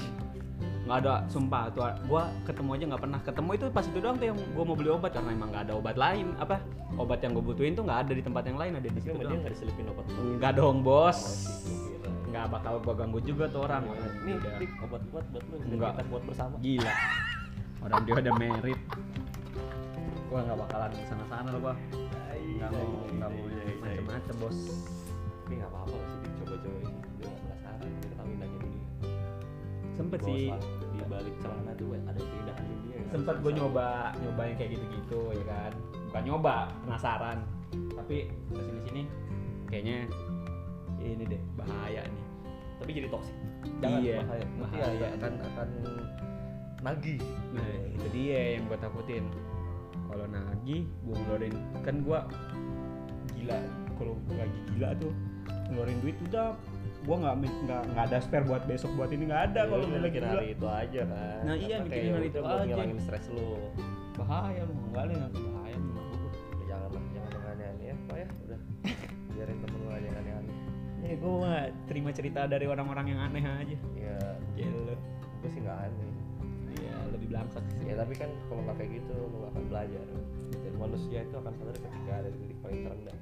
A: Nggak ada, sumpah tuh. ah, Gua ketemu aja nggak pernah ketemu itu pas itu doang tuh yang gua mau beli obat karena emang nggak ada obat lain apa obat yang gue butuhin tuh nggak ada di tempat yang lain ada di
B: tapi
A: situ
B: sama
A: doang.
B: dia nggak diselipin obat
A: Enggak dong bos
B: Gila.
A: Enggak bakal gua ganggu juga tuh orang
B: Iya. nih
A: Udah.
B: dik obat kuat buat lu biar
A: Iya, Enggak.
B: kita buat bersama
A: Gila Orang dia udah merit Gua gak bakalan kesana-sana loh gua
B: Iya,
A: Gak mau, gak mau macem-macem bos
B: tapi nggak apa-apa nggak sih dik coba-coba ini gue nggak penasaran kita tahuin aja dulu
A: Sempet
B: Bahwa
A: sih
B: selalu di balik celana tuh ada keindahan dunia ya.
A: Sempet gua nyoba, nyoba yang kayak gitu-gitu ya kan Bukan nyoba, penasaran Tapi kesini-sini kayaknya ini deh bahaya nih
B: tapi jadi toksik jangan
A: Iya,
B: bahaya nanti
A: bahaya.
B: agak- akan akan nagih
A: Nah itu dia yang gue takutin Kalau nagih gue ngeluarin Kan gue gila Kalau gua lagi gila tuh Ngeluarin duit udah Gue gak, nggak nggak ada spare buat besok buat ini Gak ada kalau
B: lu
A: gua lagi
B: bikin
A: gila
B: hari itu aja kan
A: Iya, Nah, iya,
B: Apa
A: bikin
B: kayak
A: hari
B: udah
A: itu
B: buat
A: aja.
B: ngilangin stres lu
A: Bahaya lu Enggak lah yang bahaya lu mau gua.
B: Udah Ya, jangan lah jangan yang aneh-aneh ya pak ya udah biarin temen lu aja yang aneh-aneh
A: Ya gue mah terima cerita dari orang-orang yang aneh aja
B: ya
A: Gila
B: gue sih nggak aneh
A: Ya lebih belangsak sih
B: ya tapi kan kalau nggak kayak gitu lu nggak akan belajar dan manusia itu akan sadar ketika ada di titik paling terendah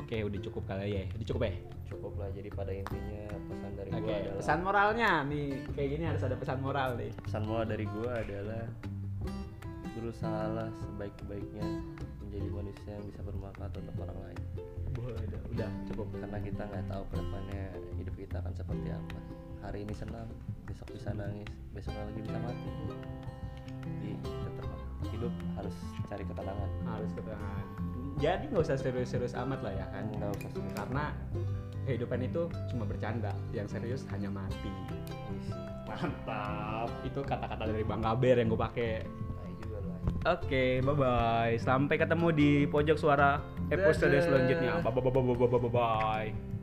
A: Oke udah cukup kali ya Udah cukup ya
B: cukup lah jadi pada intinya pesan dari
A: Oke
B: gue adalah
A: pesan moralnya nih Kayak gini harus ada pesan moral nih
B: pesan moral dari gue adalah berusahalah sebaik-baiknya menjadi menjadi manusia yang bisa bermanfaat untuk orang lain
A: Boleh, udah, udah.
B: cukup karena kita nggak tahu kedepannya hidup kita akan seperti apa hari ini senang besok bisa nangis besok lagi bisa mati jadi tetap hidup harus cari ketenangan
A: harus ketenangan jadi nggak usah serius-serius amat lah ya kan
B: nggak usah serius.
A: karena kehidupan itu cuma bercanda yang serius hanya mati
B: Isi.
A: mantap itu kata-kata dari bang Kaber yang gue pakai
B: Tai juga lu, anjing.
A: Oke, bye bye. Sampai ketemu di pojok suara episode
B: Dadah.
A: selanjutnya. Bye bye bye bye bye bye.